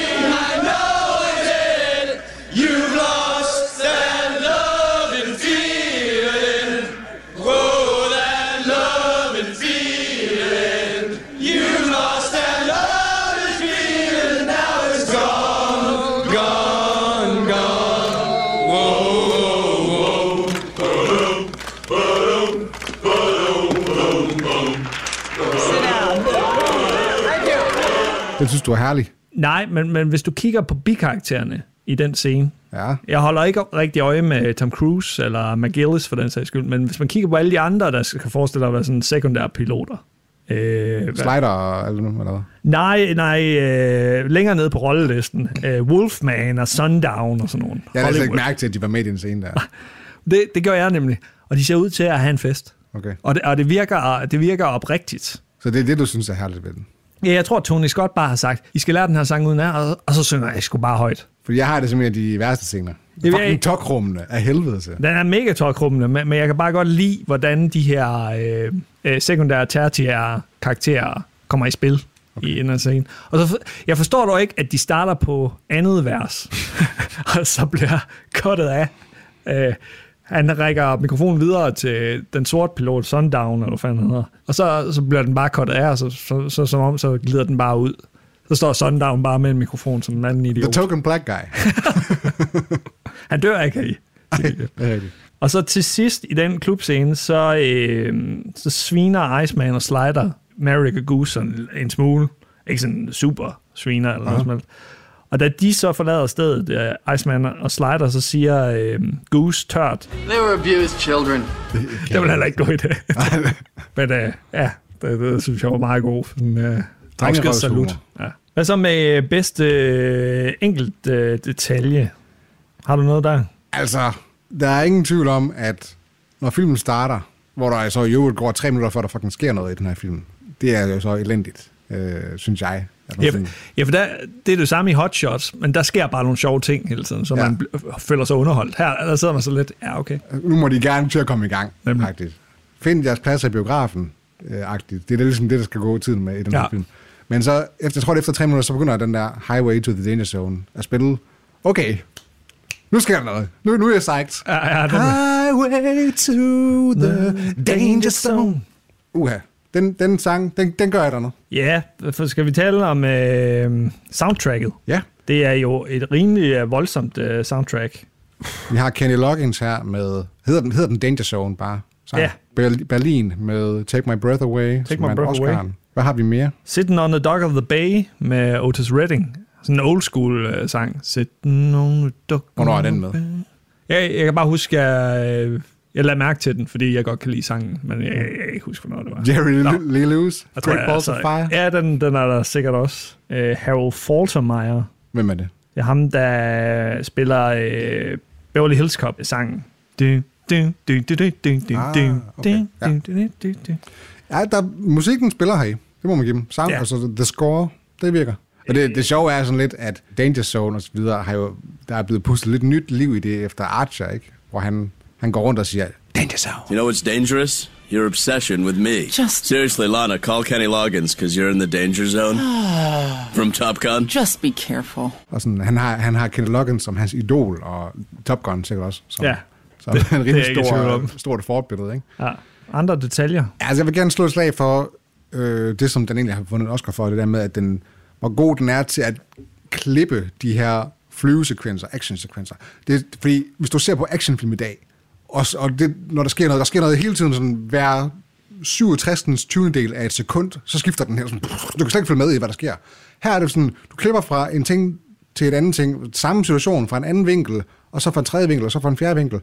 Speaker 8: I know that you've lost that loving feeling. Whoa, that loving feeling. You've lost that loving feeling. Now it's gone, gone, gone.
Speaker 2: Den synes du er herlig.
Speaker 1: Nej, men, men hvis du kigger på bikaraktererne i den scene,
Speaker 2: Ja.
Speaker 1: jeg holder ikke rigtig øje med Tom Cruise eller McGillis for den sags skyld, men hvis man kigger på alle de andre, der skal forestille dig at være sådan sekundære piloter. Øh, hvad-
Speaker 2: Slider og alt nu, eller hvad?
Speaker 1: nej, nej, øh, længere nede på rollelisten. Øh, Wolfman og Sundown og sådan nogle.
Speaker 2: Jeg har altså ikke
Speaker 1: Hollywood.
Speaker 2: mærke til, at de var med i den scene der.
Speaker 1: det, det gør jeg nemlig. Og de ser ud til at have en fest.
Speaker 2: Okay.
Speaker 1: Og det, og det, virker, det virker oprigtigt.
Speaker 2: Så det er det, du synes er herligt ved den.
Speaker 1: Ja, jeg tror, Tony Scott bare har sagt, I skal lære den her sang uden af, og, og så synger jeg sgu bare højt.
Speaker 2: Fordi jeg har det som en af de værste scener.
Speaker 1: ved jeg
Speaker 2: Fucking
Speaker 1: ikke.
Speaker 2: tokrummene af helvede til.
Speaker 1: Den er mega tårkrummende, men, men jeg kan bare godt lide, hvordan de her øh, øh, sekundære, tertiære karakterer kommer i spil okay. i en scene. Og så, for- jeg forstår dog ikke, at de starter på andet vers, og så bliver kottet af. Øh, han rækker mikrofonen videre til den sorte pilot, Sundown, eller hvad fanden han hedder. Og så, så bliver den bare kottet af, og så, så, så, som om, så glider den bare ud. Så står Sundown bare med en mikrofon som en anden
Speaker 2: The
Speaker 1: idiot.
Speaker 2: token black guy.
Speaker 1: Han dør ikke af i.
Speaker 2: Det er rigtigt.
Speaker 1: Og så til sidst i den klubscene, så, øh, så sviner Iceman og Slider Merrick og Goose sådan en smule. Ikke sådan super sviner eller noget som helst. Og da de så forlader stedet, øh, Iceman og Slider, så siger øh, Goose tørt.
Speaker 9: They were abused children.
Speaker 1: Det vil heller ikke gå i det. Men øh, ja, det, det, synes jeg var meget god. Sådan, øh,
Speaker 2: Drengerøvshumor.
Speaker 1: afskedssalut. Ja. Hvad så med øh, bedste øh, enkelt øh, detalje? Har du noget der?
Speaker 2: Altså, der er ingen tvivl om, at når filmen starter, hvor der så i øvrigt går tre minutter, før der fucking sker noget i den her film, det er jo så elendigt, øh, synes jeg. At man
Speaker 1: Ja,
Speaker 2: sådan-
Speaker 1: for- ja, for der, det er det samme i Hot Shots, men der sker bare nogle sjove ting hele tiden, så ja.
Speaker 2: Ja.
Speaker 1: man bl- føler sig underholdt. Her der sidder man så lidt, ja okay.
Speaker 2: nu må de gerne til at komme i gang,
Speaker 1: Nemlig.
Speaker 2: agtigt. Find jeres pladser i biografen, øh, agtigt. Det er ligesom det, der skal gå tiden med i den her
Speaker 1: Ja.
Speaker 2: film. Men så, efter, jeg tror, det er efter tre minutter, så begynder den der Highway to the Danger Zone at spille. Okay, nu sker der noget. Nu, nu er jeg psyched.
Speaker 1: Ja, ja, den,
Speaker 2: Highway to the Øh, Danger Zone. Uha, den, den sang, den, den gør jeg der noget.
Speaker 1: ja for skal vi tale om øh, soundtracket?
Speaker 2: Ja,
Speaker 1: Det er jo et rimelig øh, voldsomt øh, soundtrack.
Speaker 2: vi har Kenny Loggins her med, hedder den, hedder den Danger Zone bare? Sang.
Speaker 1: Ja.
Speaker 2: Berl- Berlin med Take My Breath Away. som
Speaker 1: My
Speaker 2: vandt
Speaker 1: Breath Away.
Speaker 2: Oscar'en. Hvad har vi mere?
Speaker 1: Sitting on the Dock of the Bay med Otis Redding Sådan en old school øh, sang. Sæt nogle dukker.
Speaker 2: Hvornår er den med?
Speaker 1: Jeg, jeg kan bare huske, jeg, øh, jeg lader mærke til den, fordi jeg godt kan lide sangen, men jeg, jeg, jeg kan ikke huske, hvornår det var.
Speaker 2: Jerry Lee Lewis,
Speaker 1: Jeg tror,
Speaker 2: Great
Speaker 1: jeg-
Speaker 2: Balls of
Speaker 1: altså,
Speaker 2: Fire.
Speaker 1: Ja, den, den er der sikkert også. Øh, Harold Faltermeyer.
Speaker 2: Hvem er det?
Speaker 1: Det er ham, der spiller øh, Beverly Hills Cop-sangen. Du, du, du, du, du, du, du,
Speaker 2: Ah,
Speaker 1: du,
Speaker 2: okay,
Speaker 1: du,
Speaker 2: ja.
Speaker 1: du, du, du, du.
Speaker 2: Ja, der, musikken spiller her i. Det må man give dem. Sound,
Speaker 1: Ja. Øh.
Speaker 2: ja. altså the score, det virker. Og det, det sjove er sådan lidt, at Danger Zone og så videre, har jo, der er blevet pustet lidt nyt liv i det efter Archer, ikke? Hvor han, han går rundt og siger, Danger Zone.
Speaker 9: You know what's dangerous? Your obsession with me. Just seriously, Lana, call Kenny Loggins because you're in the danger zone. From Top Gun.
Speaker 10: Just be careful.
Speaker 2: Og sådan, han har, han har Kenny Loggins som hans idol, og Top Gun sikkert også. Som,
Speaker 1: Ja.
Speaker 2: Som det, en
Speaker 1: det er jeg
Speaker 2: rimelig
Speaker 1: ikke i tvivl om.
Speaker 2: stor, stort forbillede, ikke?
Speaker 1: Ja. Andre detaljer.
Speaker 2: Ja, Altså, jeg vil gerne slå et slag for øh, det, som den egentlig har vundet en Oscar for, det der med, at den, hvor god den er til at klippe de her flyvesekvenser, actionsekvenser. Det, er- fordi hvis du ser på actionfilm i dag, og, s- og det, når der sker noget, der sker noget hele tiden, sådan hver 67. 20. del af et sekund, så skifter den her sådan, du kan slet ikke følge med i, hvad der sker. Her er det sådan, du klipper fra en ting til et andet ting, samme situation fra en anden vinkel, og så fra en tredje vinkel, og så fra en fjerde vinkel,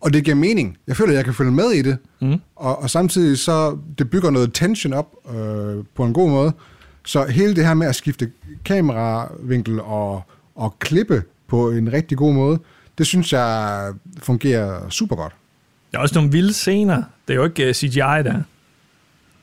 Speaker 2: og det giver mening. Jeg føler, at jeg kan følge med i det. Mm. Og, og samtidig så, det bygger noget tension op øh, på en god måde. Så hele det her med at skifte kameravinkel og, og klippe på en rigtig god måde, det synes jeg fungerer super godt.
Speaker 1: Der er også nogle vilde scener. Det er jo ikke øh, CGI, der.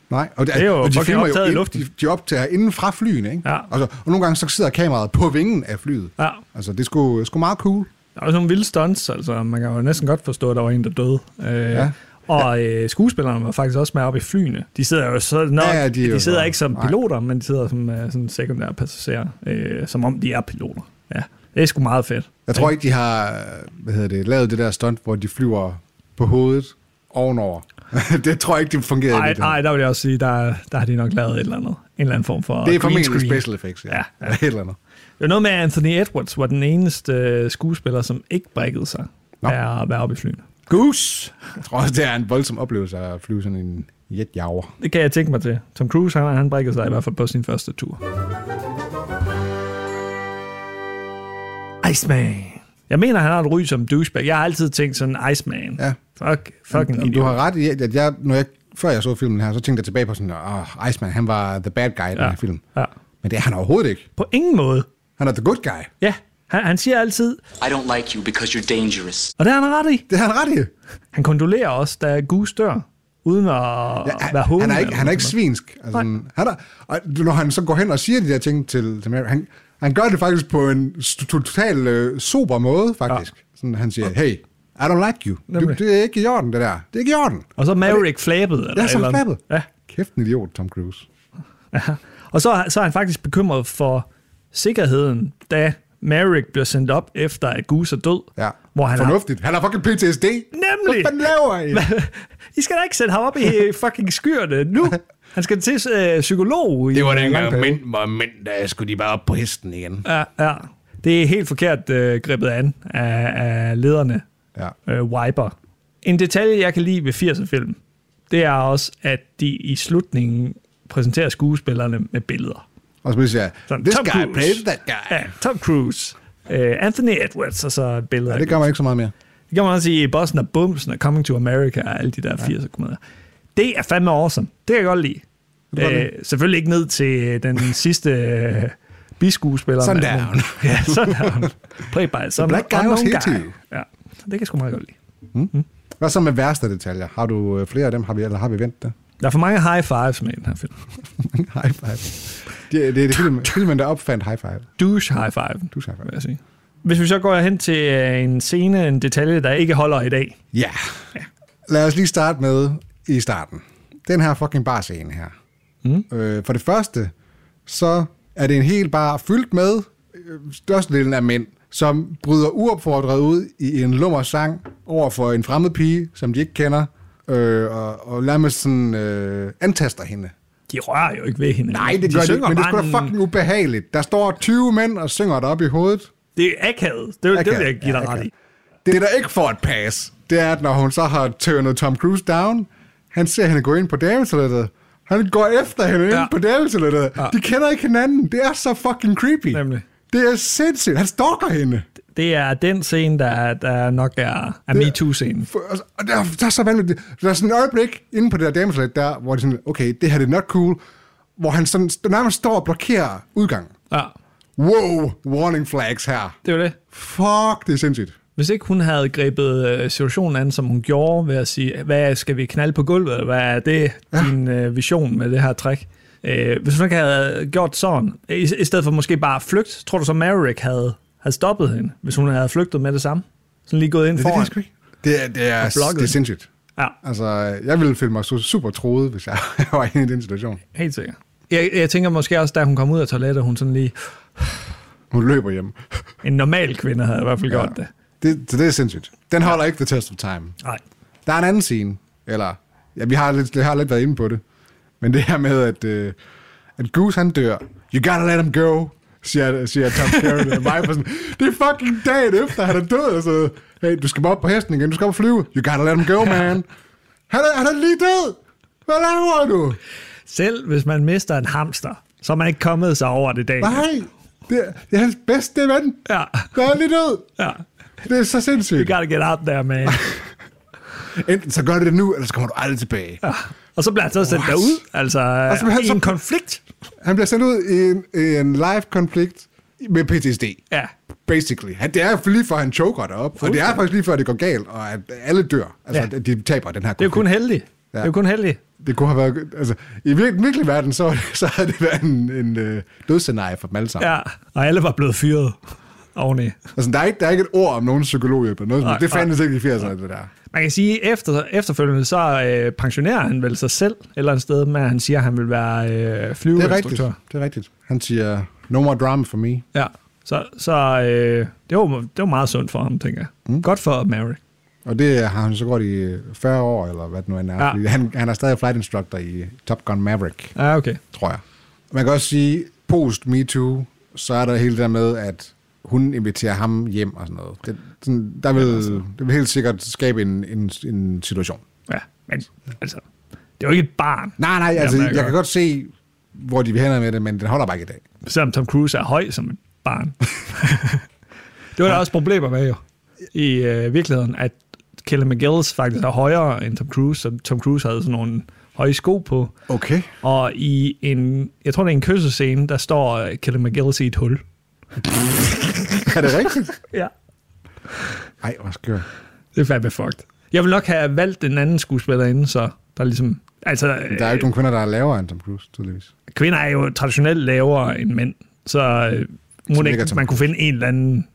Speaker 2: Nej, og, det,
Speaker 1: Det er jo fucking
Speaker 2: filmer
Speaker 1: optaget i
Speaker 2: ind-
Speaker 1: luften.
Speaker 2: De, de optager inden fra flyene, ikke?
Speaker 1: Ja.
Speaker 2: Og, så, og nogle gange så sidder kameraet på vingen af flyet.
Speaker 1: Ja.
Speaker 2: Altså, det er sgu, sgu meget cool.
Speaker 1: Der er også nogle vilde stunts, altså man kan jo næsten godt forstå, at der var en, der døde. Øh,
Speaker 2: Ja.
Speaker 1: Og øh, skuespillerne var faktisk også med op i flyene. De sidder jo så nok,
Speaker 2: Ja,
Speaker 1: ja,
Speaker 2: ja,
Speaker 1: de,
Speaker 2: de er jo-
Speaker 1: de sidder ikke som
Speaker 2: nej.
Speaker 1: piloter, men de sidder som øh, sådan sekundære passagerer, øh, som om de er piloter. Ja, det er sgu meget fedt.
Speaker 2: Jeg tror ikke, de har hvad hedder det, lavet det der stunt, hvor de flyver på hovedet ovenover. det tror jeg ikke, det fungerede. i
Speaker 1: Nej,
Speaker 2: virkeligheden.
Speaker 1: nej, der vil jeg også sige, der, der har de nok lavet et eller andet. En eller anden form for
Speaker 2: Det er
Speaker 1: green
Speaker 2: formentlig
Speaker 1: screen.
Speaker 2: special effects, ja.
Speaker 1: Ja,
Speaker 2: ja, ja. Et eller andet.
Speaker 1: Det var noget med, at Anthony Edwards var den eneste øh, skuespiller, som ikke brækkede sig
Speaker 2: Nå.
Speaker 1: af at være oppe i flyene.
Speaker 2: Goose! Jeg tror også, det er en voldsom oplevelse at flyve sådan en jetjager.
Speaker 1: Det kan jeg tænke mig til. Tom Cruise, han, han brækkede sig i hvert fald på sin første tur. Iceman. Jeg mener, han har et ry som douchebag. Jeg har altid tænkt sådan, Iceman.
Speaker 2: Ja.
Speaker 1: Fuck, fucking
Speaker 2: Jamen,
Speaker 1: idiot.
Speaker 2: Du har ret i, at jeg, når jeg, før jeg så filmen her, så tænkte jeg tilbage på sådan, at oh, Iceman, han var the bad guy i ja. den
Speaker 1: Ja.
Speaker 2: her film.
Speaker 1: Ja.
Speaker 2: Men det er han overhovedet ikke.
Speaker 1: På ingen måde.
Speaker 2: Han er the good guy.
Speaker 1: Ja, han, han siger altid,
Speaker 8: I don't like you because you're dangerous.
Speaker 1: og det har han ret i.
Speaker 2: Det har han ret i.
Speaker 1: Han kondolerer også, da Goose dør, uden at
Speaker 2: Ja,
Speaker 1: være
Speaker 2: han,
Speaker 1: hovedet.
Speaker 2: han, er ikke, han er ikke svinsk. Altså,
Speaker 1: Nej.
Speaker 2: han er, og når han så går hen og siger de der ting til, til Mary, han, han gør det faktisk på en st- total øh, sober måde, faktisk. Ja. Sådan, han siger, hey, I don't like you. Du,
Speaker 1: Nemlig.
Speaker 2: det er ikke i orden, det der. Det er ikke i orden.
Speaker 1: Og så Maverick flabet. Eller
Speaker 2: Ja,
Speaker 1: et
Speaker 2: så
Speaker 1: eller andet.
Speaker 2: flappet.
Speaker 1: Ja.
Speaker 2: Kæft en idiot, Tom Cruise.
Speaker 1: Og så, så er han faktisk bekymret for sikkerheden, da Maverick bliver sendt op efter, at Goose er død.
Speaker 2: Ja.
Speaker 1: Hvor han har,
Speaker 2: Fornuftigt. Han har fucking PTSD.
Speaker 1: Nemlig.
Speaker 2: Hvad fanden laver I?
Speaker 1: I skal da ikke sætte ham op i fucking skyerne nu. Han skal til øh, psykolog. i en lang periode.
Speaker 2: mænd var mænd, der skulle de bare op på hesten igen.
Speaker 1: Ja, ja. Det er helt forkert øh, grebet an af, af lederne,
Speaker 2: Ja.
Speaker 1: øh, Wiper. En detalje, jeg kan lide ved 80'er film, det er også, at de i slutningen præsenterer skuespillerne med billeder.
Speaker 2: Og så vil jeg sige,
Speaker 1: Sådan,
Speaker 2: this
Speaker 1: Tom
Speaker 2: guy
Speaker 1: Cruise.
Speaker 2: plays that guy.
Speaker 1: Ja, Tom Cruise, øh, Anthony Edwards og så billeder.
Speaker 2: Ja, det gør man ikke så meget mere.
Speaker 1: Det kan man også sige i Boston og Bumsen og Coming to America og alle de der 80'er komedier. Det er fandme awesome. Det kan jeg godt lide.
Speaker 2: kan godt
Speaker 1: Øh, selvfølgelig ikke ned til øh, den sidste øh, biskuespiller. men-
Speaker 2: Sundown.
Speaker 1: ja, Sundown. Play by some
Speaker 2: black guy
Speaker 1: unknown
Speaker 2: was here
Speaker 1: guy.
Speaker 2: too.
Speaker 1: Ja, det kan jeg sgu meget godt lide.
Speaker 2: Hvad så med værste detaljer? Har du øh, flere af dem, har vi, eller har vi vendt det?
Speaker 1: Der er for mange high fives med i den her film.
Speaker 2: high five. Det, det er det film, filmen, der opfandt high five.
Speaker 1: Douche high five,
Speaker 2: Douche high five.
Speaker 1: vil jeg sige. Hvis vi så går hen til øh, en scene, en detalje, der ikke holder i dag.
Speaker 2: Ja. Lad os lige starte med i starten. Den her fucking barscene her. Mm. Øh, for det første, så er det en hel bar fyldt med øh, størstedelen af mænd, som bryder uopfordret ud i en lummer sang over for en fremmed pige, som de ikke kender, øh, og, og lad mig sådan øh, antaster hende.
Speaker 1: De rører jo ikke ved hinanden.
Speaker 2: Nej, det gør de, ikke,
Speaker 1: synger
Speaker 2: men det
Speaker 1: bare
Speaker 2: er sgu da
Speaker 1: en-
Speaker 2: fucking ubehageligt. Der står 20 mænd og synger det op i hovedet.
Speaker 1: Det er akavet. Det, det vil jeg
Speaker 2: Akavet.
Speaker 1: give dig
Speaker 2: Ja,
Speaker 1: ret i.
Speaker 2: akavet. Det, der ikke får et pas, det er, at når hun så har tørnet Tom Cruise down, han ser hende gå ind på dametoilettet. Han går efter hende ja.
Speaker 1: Ja.
Speaker 2: ind på dametoilettet. Ja. De kender ikke hinanden. Det er så fucking creepy.
Speaker 1: Nemlig.
Speaker 2: Det er sindssygt. Han stalker hende.
Speaker 1: Det er den scene, der, der nok er, er
Speaker 2: Det-
Speaker 1: MeToo-scenen.
Speaker 2: For- altså, Og der, der er så vanvittigt. Der er sådan et øjeblik inde på det der dameflat der, hvor det er sådan, okay, det her det er not cool, hvor han sådan, nærmest står og blokerer udgangen.
Speaker 1: Ja,
Speaker 2: Wow, warning flags her.
Speaker 1: det er jo det.
Speaker 2: Fuck, det er sindssygt.
Speaker 1: Hvis ikke hun havde grebet øh, situationen an, som hun gjorde, ved at sige, hvad skal vi knalde på gulvet? Hvad er det, din øh, vision med det her trick? Øh, hvis hun ikke havde gjort sådan, i, i stedet for måske bare at flygte, tror du så Maverick havde, havde stoppet hende, hvis hun havde flygtet med det samme? Sådan lige gået ind
Speaker 2: Det, det,
Speaker 1: foran.
Speaker 2: det, det, det, er, det, er,
Speaker 1: blokket.
Speaker 2: det er sindssygt.
Speaker 1: Ja,
Speaker 2: Altså, jeg ville føle mig su- super troet, hvis jeg var inde i den situation.
Speaker 1: helt sikkert. Jeg, jeg tænker måske også, da hun kom ud af toilettet, hun sådan lige,
Speaker 2: Hun løber hjem.
Speaker 1: en normal kvinde havde i hvert fald ja. gjort det.
Speaker 2: det. Så det er sindssygt. Den holder ikke the test of time.
Speaker 1: Nej.
Speaker 2: Der er en anden scene, eller... Ja, vi har lidt, vi har lidt været inde på det. Men det her med, at, øh, at Goose han dør. You gotta let him go, siger, siger Tom Carrey og mig på sådan, det er fucking dagen efter, han er død. Og så, hey, du skal bare op på hesten igen, du skal op og flyve. You gotta let him go, man. Han er, han er lige død. Hvad laver du?
Speaker 1: Selv hvis man mister en hamster, så er man ikke kommet sig over det dag.
Speaker 2: Nej, det er, det er hans bedste ven.
Speaker 1: Ja.
Speaker 2: Der er lige død.
Speaker 1: Ja.
Speaker 2: Det er så sindssygt.
Speaker 1: You gotta get out there, man.
Speaker 2: Enten så gør du det nu, eller så kommer du aldrig tilbage. Ja.
Speaker 1: Og så bliver han så sendt derud, altså
Speaker 2: så bliver han
Speaker 1: i
Speaker 2: så-
Speaker 1: en konflikt.
Speaker 2: Han bliver sendt ud i en, i en live konflikt med PTSD.
Speaker 1: Ja,
Speaker 2: Basically. Han, det er jo lige før, han choker derop, og det er faktisk lige før, det går galt, og at alle dør. Altså,
Speaker 1: Ja.
Speaker 2: ja. de taber den her konflikt.
Speaker 1: det er jo kun heldigt. Det er jo kun heldigt.
Speaker 2: det kunne have været... Altså, i vir- den virkelige verden, så, så havde det været en, en øh, dødsscenarie for dem alle sammen. Ja.
Speaker 1: Ja, og alle var blevet fyret oveni.
Speaker 2: Altså, der er, ikke, der er ikke et ord om nogen psykologhjælp eller noget. Nej,
Speaker 1: Nej,
Speaker 2: det fandtes
Speaker 1: nej.
Speaker 2: ikke i 80'erne, det der.
Speaker 1: Man kan sige, efter efterfølgende så øh, pensionerer han vel sig selv et eller andet sted med, at han siger, at han vil være øh,
Speaker 2: Det er rigtigt.
Speaker 1: flyveinstruktør.
Speaker 2: Det er rigtigt. Han siger, no more drama for me.
Speaker 1: Ja, så, så øh, det, var, det var meget sundt for ham, tænker jeg. Mm. Godt for Mary.
Speaker 2: Og det har han så godt i øh, 40 år, eller hvad det nu end er.
Speaker 1: Ja.
Speaker 2: Ja. Fordi han, han er stadig flight instructor i Top Gun Maverick,
Speaker 1: Ja, okay.
Speaker 2: tror jeg. Man kan også sige, post MeToo, så er der hele det der med, at hun inviterer ham hjem og sådan noget. Det, sådan, der, vil, det vil helt sikkert skabe en, en, en situation.
Speaker 1: Ja, men altså, det er jo ikke et barn.
Speaker 2: Nej, nej, altså,
Speaker 1: Jamen, jeg
Speaker 2: Jamen, jeg kan
Speaker 1: gør.
Speaker 2: godt se, hvor de vil hen med det, men den holder bare ikke i dag.
Speaker 1: Selvom Tom Cruise er høj som et barn. det var der også problemer med jo. I øh, virkeligheden, at Kelly McGillis faktisk er højere end Tom Cruise, så Tom Cruise havde sådan nogle høje sko på.
Speaker 2: Okay.
Speaker 1: Og i en, jeg tror det er en kyssescene, der står øh, Kelly McGillis i et hul.
Speaker 2: Er det rigtigt?
Speaker 1: Ja.
Speaker 2: Ej, hvor skør.
Speaker 1: Det er fandme fucked. Jeg vil nok have valgt en anden skuespillerinde, så der er ligesom... Altså,
Speaker 2: Der er jo ikke nogen kvinder, der er lavere end Tom Cruise, tydeligvis.
Speaker 1: kvinder er jo traditionelt lavere end mænd, så øh, må det
Speaker 2: ligger
Speaker 1: ikke,
Speaker 2: Tom
Speaker 1: man kunne finde en eller anden,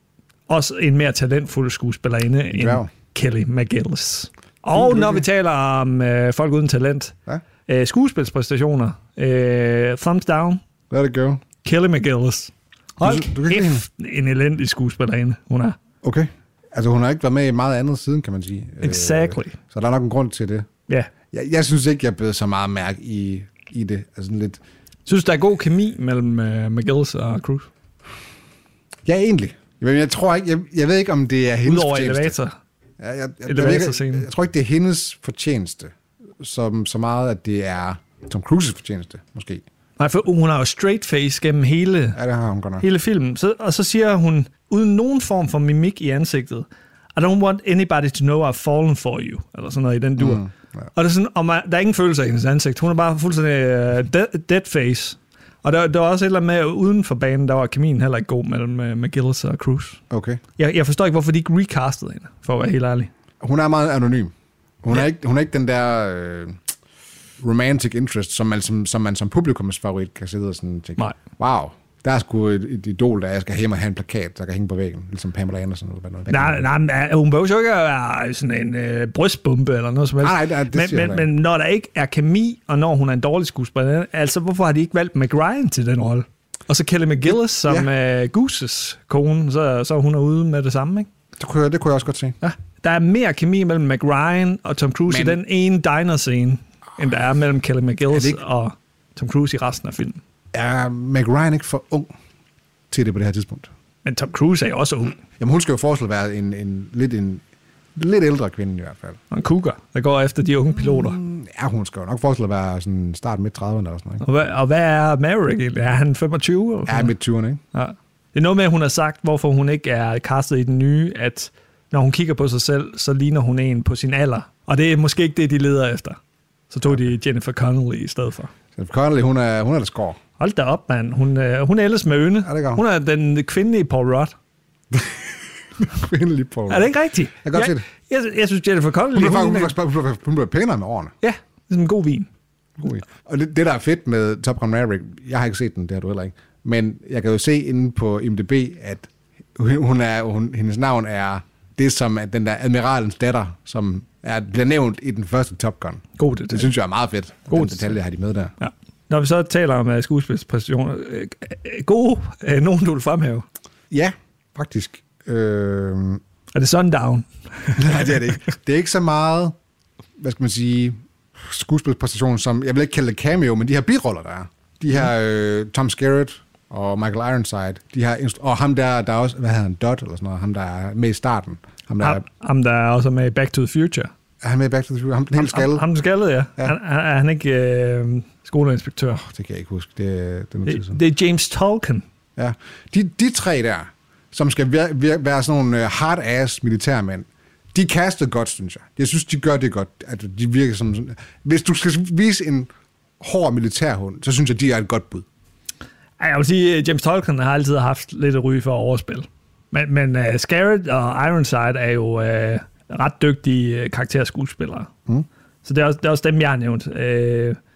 Speaker 1: også en mere talentfuld skuespillerinde end
Speaker 2: dværg.
Speaker 1: Kelly McGillis. Og når vi taler om øh, folk uden talent,
Speaker 2: Ja,
Speaker 1: øh, skuespilspræstationer, øh, thumbs down,
Speaker 2: let it go.
Speaker 1: Kelly McGillis. Hold
Speaker 2: du kan ikke
Speaker 1: kæft, en elendig skuespillerinde, hun er.
Speaker 2: Okay. Altså, hun har ikke været med i meget andet siden, kan man sige. Øh,
Speaker 1: Exactly.
Speaker 2: Så der er nok en grund til det.
Speaker 1: Ja.
Speaker 2: Jeg, jeg synes ikke, jeg blev så meget mærke i, i det. Altså sådan lidt...
Speaker 1: Synes, der er god kemi mellem øh, McGillis og Cruz?
Speaker 2: Ja, egentlig. Men jeg tror ikke, jeg, jeg ved ikke, om det er hendes
Speaker 1: Udover
Speaker 2: fortjeneste.
Speaker 1: elevator.
Speaker 2: Ja, jeg, jeg, jeg, jeg,
Speaker 1: Elevatorscenen.
Speaker 2: jeg, jeg tror ikke, det er hendes fortjeneste, som, så meget, at det er Tom Cruises fortjeneste, måske.
Speaker 1: Nej, for hun har jo straight face gennem hele
Speaker 2: Ja, det har hun godt nok.
Speaker 1: hele filmen. Så, og så siger hun, uden nogen form for mimik i ansigtet, I don't want anybody to know I've fallen for you, eller sådan noget i den dur. Mm, yeah. Og det er sådan, og man, der er ingen følelse i hendes ansigt. Hun er bare fuldstændig uh, dead, dead face. Og der, der var også et eller andet med, at uden for banen, der var kemien heller ikke god mellem uh, McGillis og Cruz.
Speaker 2: Okay.
Speaker 1: Jeg, jeg forstår ikke, hvorfor de ikke recastede hende, for at være helt ærlig.
Speaker 2: Hun er meget anonym. Hun, ja. er, ikke, hun er ikke den der øh, romantic interest, som man som, som man som publikums favorit kan sidde og sådan tænke,
Speaker 1: Nej.
Speaker 2: wow, der er sgu et, et idol, der er. jeg skal hjem og have en plakat, der kan hænge på væggen, ligesom Pamela Anderson eller hvad noget.
Speaker 1: Nej, nej, men, øh, hun behøver jo ikke at være sådan en øh, brystbombe eller noget som helst.
Speaker 2: Nej, nej, det
Speaker 1: men,
Speaker 2: siger jeg
Speaker 1: men,
Speaker 2: da ikke.
Speaker 1: men når der ikke er kemi, og når hun er en dårlig skuespiller, altså hvorfor har de ikke valgt McRyan til den rolle? Og så Kelly McGillis som ja. øh, Gooses kone, så, så er hun er ude med det samme, ikke?
Speaker 2: Det kunne, jeg, det kunne jeg også godt se.
Speaker 1: Ja. Der er mere kemi mellem McRyan og Tom Cruise men... i
Speaker 2: Men-
Speaker 1: den ene diner-scene, end der er mellem Kelly McGillis
Speaker 2: ikke-
Speaker 1: ikke... og Tom Cruise i resten af filmen.
Speaker 2: Er Meg Ryan ikke for ung til det på det her tidspunkt?
Speaker 1: Men Tom Cruise er jo også ung.
Speaker 2: Jamen hun skal jo forestille at være en, en, lidt, en lidt ældre kvinde i hvert fald.
Speaker 1: Og en cougar, der går efter de unge piloter.
Speaker 2: Ja, hun skal jo nok forestille at være sådan start midt 30'erne eller sådan noget. Ikke?
Speaker 1: Og hvad, og hvad er Maverick egentlig? Er han 25? Eller sådan
Speaker 2: Ja,
Speaker 1: noget?
Speaker 2: midt 20'erne, ikke?
Speaker 1: Ja. Det er noget med, at hun har sagt, hvorfor hun ikke er castet i den nye, at når hun kigger på sig selv, så ligner hun en på sin alder. Og det er måske ikke det, de leder efter. Så tog de Jennifer Connelly i stedet for.
Speaker 2: Jennifer Connelly, hun er, hun er der skår.
Speaker 1: Hold da op, mand. Hun, øh, hun er ellers med øne.
Speaker 2: Ja, det gør hun.
Speaker 1: hun er den kvindelige Paul Rudd.
Speaker 2: Kvindelig på.
Speaker 1: Er det ikke rigtigt?
Speaker 2: Jeg kan godt
Speaker 1: jeg,
Speaker 2: se det.
Speaker 1: Jeg, jeg, synes, Jennifer Connelly...
Speaker 2: Hun bliver,
Speaker 1: hun,
Speaker 2: faktisk- hun,
Speaker 1: er-
Speaker 2: bliver, hun, bliver, hun bliver pænere med årene.
Speaker 1: Ja, det er som en god vin.
Speaker 2: God idé. Og det, det, der er fedt med Top Gun Maverick, jeg har ikke set den, det har du heller ikke, men jeg kan jo se inde på IMDb, at hun hun er, hun, hendes navn er det, som er den der admiralens datter, som er, bliver nævnt i den første Top Gun.
Speaker 1: God detalje.
Speaker 2: Det synes jeg er meget fedt.
Speaker 1: God
Speaker 2: God den
Speaker 1: detalje.
Speaker 2: detalje har de med der.
Speaker 1: Ja. Når vi så taler om uh, skuespilspræstationer, øh, øh, gode, øh, nogen du vil fremhæve.
Speaker 2: Ja, faktisk. Øh, nej,
Speaker 1: Er det Sundown?
Speaker 2: det er det ikke. Det er ikke så meget, hvad skal man sige, skuespilspræstation, som, jeg vil ikke kalde det cameo, men de her biroller, der er. De her øh, Tom Skerritt og Michael Ironside, de her, inst- og ham der, der er også, hvad hedder han, Dot eller sådan noget, ham der er med i starten. Ham der,
Speaker 1: Ham, ham, der er også med i Back to the Future.
Speaker 2: er han med i Back to the Future? Ham, den helt
Speaker 1: Ham,
Speaker 2: skaldet?
Speaker 1: ham den skaldede, ja. ja.
Speaker 2: Ja.
Speaker 1: Han, han, er han ikke øh, skoleinspektør?
Speaker 2: Det kan jeg ikke huske. Det, det er noget tid
Speaker 1: Det,
Speaker 2: siden.
Speaker 1: det er James Tolkien.
Speaker 2: Ja. De, de tre der, som skal vir, vir, være sådan nogle øh, hard-ass militærmænd, de kaster godt, synes jeg. Jeg synes, de gør det godt. At de virker som sådan. Hvis du skal vise en hård militærhund, så synes jeg, de er et godt bud.
Speaker 1: Ej, Jeg vil sige, at James Tolkien har altid haft lidt at ryge for overspil. Men, men uh, Scarrett og Ironside er jo uh, ret dygtige uh, karakterskuespillere. Mm. Så det er, også, det er også dem, jeg har nævnt. Uh,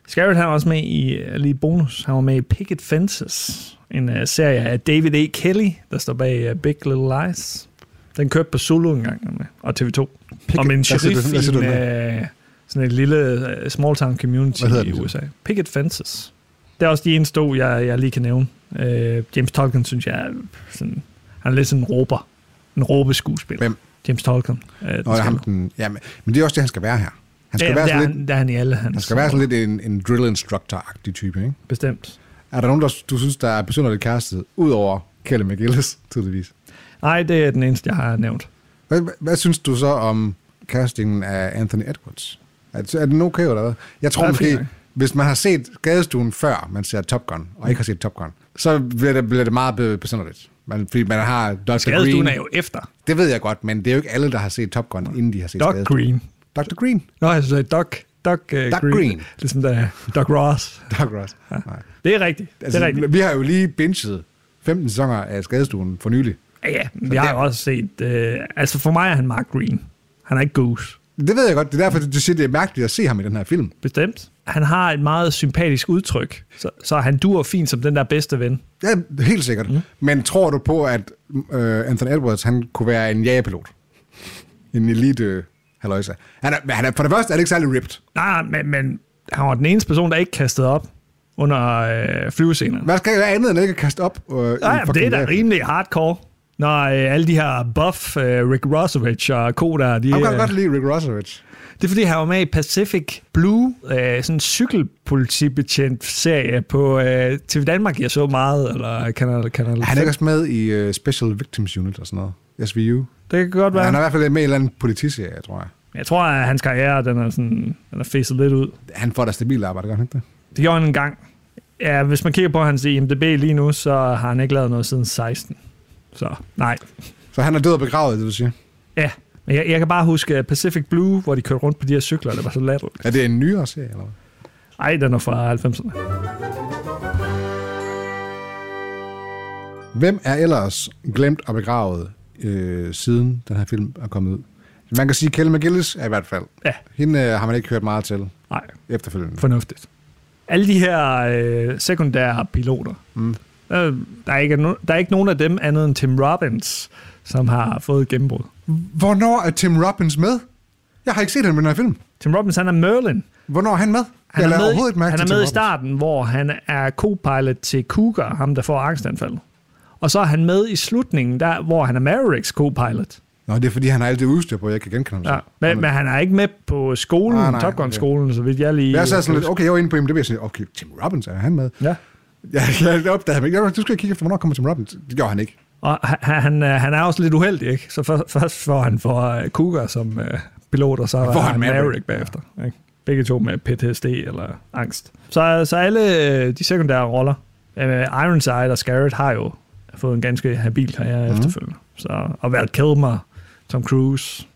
Speaker 1: Scarrett han var også med i, uh, lige bonus, han var med i Picket Fences, en uh, serie af David A. Kelly, der står bag uh, Big Little Lies. Den kørte på Zulu engang, og TV2. Picket, om en
Speaker 2: der sidder-
Speaker 1: sheriff
Speaker 2: der sidder
Speaker 1: i
Speaker 2: den
Speaker 1: en, uh, sådan et lille uh, small town community
Speaker 2: Hvad hedder
Speaker 1: i
Speaker 2: den så?
Speaker 1: USA. Picket Fences. Det er også de eneste to, jeg, jeg lige kan nævne. Øh, James Tolkien, synes jeg, er sådan, han er lidt sådan en råber. En råbeskuespiller.
Speaker 2: Hvem?
Speaker 1: James Tolkien. Øh, den
Speaker 2: Nå,
Speaker 1: skal-
Speaker 2: ham, den, ja, men, men det er også det, han skal være her. Han
Speaker 1: Ja,
Speaker 2: skal ja, være
Speaker 1: det, er,
Speaker 2: sådan
Speaker 1: han,
Speaker 2: lidt,
Speaker 1: det er han i alle hans.
Speaker 2: han skal være sådan lidt en, en drill instructor-agtig type, ikke?
Speaker 1: Bestemt.
Speaker 2: Er der nogen, der du synes, der er besynderligt kærestet, udover Kelly McGillis, tydeligvis?
Speaker 1: Nej, det er den eneste, jeg har nævnt.
Speaker 2: Hvad, hvad, hvad synes du så om castingen af Anthony Edwards? Er, er den okay eller hvad? Jeg tror
Speaker 1: Ja, fint
Speaker 2: måske,
Speaker 1: nok.
Speaker 2: hvis man har set Gadestuen før, man ser Top Gun, og ikke har set Top Gun, så bliver det, bliver det meget be- besynderligt. Man, fordi man har Dr.
Speaker 1: Gadestuen
Speaker 2: Green.
Speaker 1: er jo efter.
Speaker 2: Det ved jeg godt, men det er jo ikke alle, der har set Top Gun, inden de har set
Speaker 1: Doc
Speaker 2: Skadestuen.
Speaker 1: Green.
Speaker 2: Dr. Green.
Speaker 1: Nå, jeg synes, Doc, Doc, uh, Doc Green.
Speaker 2: Green.
Speaker 1: Ligesom der, Doc Ross.
Speaker 2: Doc Ross. Nej.
Speaker 1: Det er rigtigt. Altså,
Speaker 2: Altså,
Speaker 1: det er rigtigt.
Speaker 2: vi har jo lige binget 15 sæsoner af Skadestuen for nylig.
Speaker 1: Ja, Ja, men jeg har
Speaker 2: der-
Speaker 1: også set... Øh, altså, for mig er han Mark Green. Han er ikke Goose.
Speaker 2: Det ved jeg godt. Det er derfor, du siger, det er mærkeligt at se ham i den her film.
Speaker 1: Bestemt. Han har et meget sympatisk udtryk, så, så han dur fint som den der bedste ven.
Speaker 2: Ja, helt sikkert. Mm. Men tror du på, at øh, Anthony Edwards, han kunne være en jægerpilot? En elite øh, halløjsa. Han er, men han er, for det første er det ikke særlig ripped.
Speaker 1: Nej, men, men han var den eneste person, der ikke kastede op under øh, flyvescenerne.
Speaker 2: Man skal jo være andet end ikke at kaste op. Øh, i en
Speaker 1: Nej,
Speaker 2: fucking
Speaker 1: det er da
Speaker 2: jagerpilot.
Speaker 1: rimelig hardcore. Når øh, alle de her buff, øh, Rick Rossovich og ko der, de,
Speaker 2: Han kan
Speaker 1: øh,
Speaker 2: godt lide Rick Rossovich.
Speaker 1: det er fordi, han var med i Pacific Blue, øh, sådan en cykelpolitibetjent serie på øh, TV Danmark, jeg så meget, eller Kanal, Kanal
Speaker 2: Han er
Speaker 1: 5.
Speaker 2: ikke også med i øh, Special Victims Unit og sådan noget. SVU.
Speaker 1: Det kan godt være.
Speaker 2: Han er i hvert fald med i en eller anden politiserie, tror jeg.
Speaker 1: Jeg tror, at hans karriere, den er, sådan, den er fæset lidt ud.
Speaker 2: Han får da stabilt arbejde, gør han ikke det?
Speaker 1: Det gjorde han engang. Ja, hvis man kigger på hans IMDB lige nu, så har han ikke lavet noget siden 16. Så nej.
Speaker 2: Så han er død og begravet, det vil sige.
Speaker 1: Ja, men jeg, jeg kan bare huske øh, Pacific Blue, hvor de kørte rundt på de her cykler, og det var så latterligt.
Speaker 2: Er det en nyere serie, eller hvad?
Speaker 1: Ej, den er fra 90'erne.
Speaker 2: Hvem er ellers glemt og begravet øh, siden den her film er kommet ud? Man kan sige, at Kelly McGillis er i hvert fald.
Speaker 1: Ja.
Speaker 2: Hende øh, har man ikke hørt meget til
Speaker 1: Nej,
Speaker 2: efterfølgende. For...
Speaker 1: fornuftigt. Alle de her øh, sekundære piloter, mm. øh, der, er ikke, no- der er ikke nogen af dem andet end Tim Robbins, som har fået et gennembrud.
Speaker 2: Hvornår er Tim Robbins med? Jeg har ikke set ham i den her film.
Speaker 1: Tim Robbins, han er Merlin.
Speaker 2: Hvornår er han med?
Speaker 1: Han
Speaker 2: jeg
Speaker 1: er
Speaker 2: lader
Speaker 1: med,
Speaker 2: overhovedet ikke mærke
Speaker 1: han
Speaker 2: til
Speaker 1: er
Speaker 2: Tim
Speaker 1: med i
Speaker 2: Robbins.
Speaker 1: starten, hvor han er co-pilot til Cougar, ham der får angstanfaldet. Og så er han med i slutningen, der, hvor han er Mavericks co-pilot.
Speaker 2: Nå, det er fordi, han har alt det udstyr på, jeg ikke kan genkende ham.
Speaker 1: Ja. Men, men han er ikke med på skolen,
Speaker 2: Nej,
Speaker 1: nej, nej,
Speaker 2: nej,
Speaker 1: Top Gun-skolen, så vidt jeg lige...
Speaker 2: Jeg sad sådan lidt, okay, jeg var inde på IMDb, og sagde, okay, Tim Robbins, er han med?
Speaker 1: Ja.
Speaker 2: Jeg, jeg opdagede ham ikke. Jeg var, Du skal kigge efter, hvornår kommer Tim Robbins? Det gjorde han ikke.
Speaker 1: Og han, han, øh, han er også lidt uheldig, ikke? Så først, først får han for uh, Cougar som uh, pilot, og så er
Speaker 2: får
Speaker 1: han
Speaker 2: han
Speaker 1: Maverick,
Speaker 2: Maverick.
Speaker 1: Maverick bagefter. Ikke? Begge to med PTSD eller angst. Så, så alle øh, de sekundære roller, øh, Ironside og Scarrett har jo har fået en ganske habil karriere
Speaker 2: Mhm.
Speaker 1: mm-hmm. efterfølgende. Så, og Val Kilmer, Tom Cruise.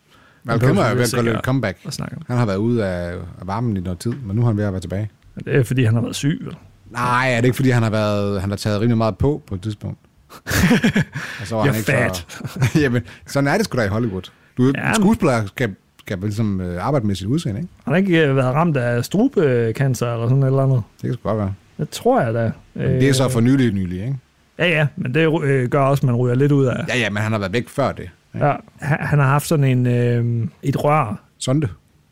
Speaker 2: Val Kilmer er ved at gå lidt comeback.
Speaker 1: Og snakke om.
Speaker 2: Han har været ude af af varmen i noget tid, men nu er han ved at være tilbage.
Speaker 1: Det er, fordi han har været syg, vel?
Speaker 2: Nej, er det ikke, fordi han har, været, han har taget rimelig meget på på et tidspunkt? og så var
Speaker 1: You're
Speaker 2: Så... Jamen, sådan er det sgu da i Hollywood. Du,
Speaker 1: Ja,
Speaker 2: ja,
Speaker 1: men-
Speaker 2: skuespiller skal, skal ligesom øh, arbejde med sit udseende, ikke?
Speaker 1: Han har ikke øh, været ramt af strubekancer eller sådan et eller andet.
Speaker 2: Det kan sgu godt være.
Speaker 1: Det tror jeg da. øh,
Speaker 2: Men det er så for nylig nylig, ikke?
Speaker 1: Ja, ja, men det øh, gør også, at man ryger lidt ud af.
Speaker 2: Ja, ja, men han har været væk før det.
Speaker 1: Ja. Han han har haft sådan en, øh, et rør,
Speaker 2: Sonde.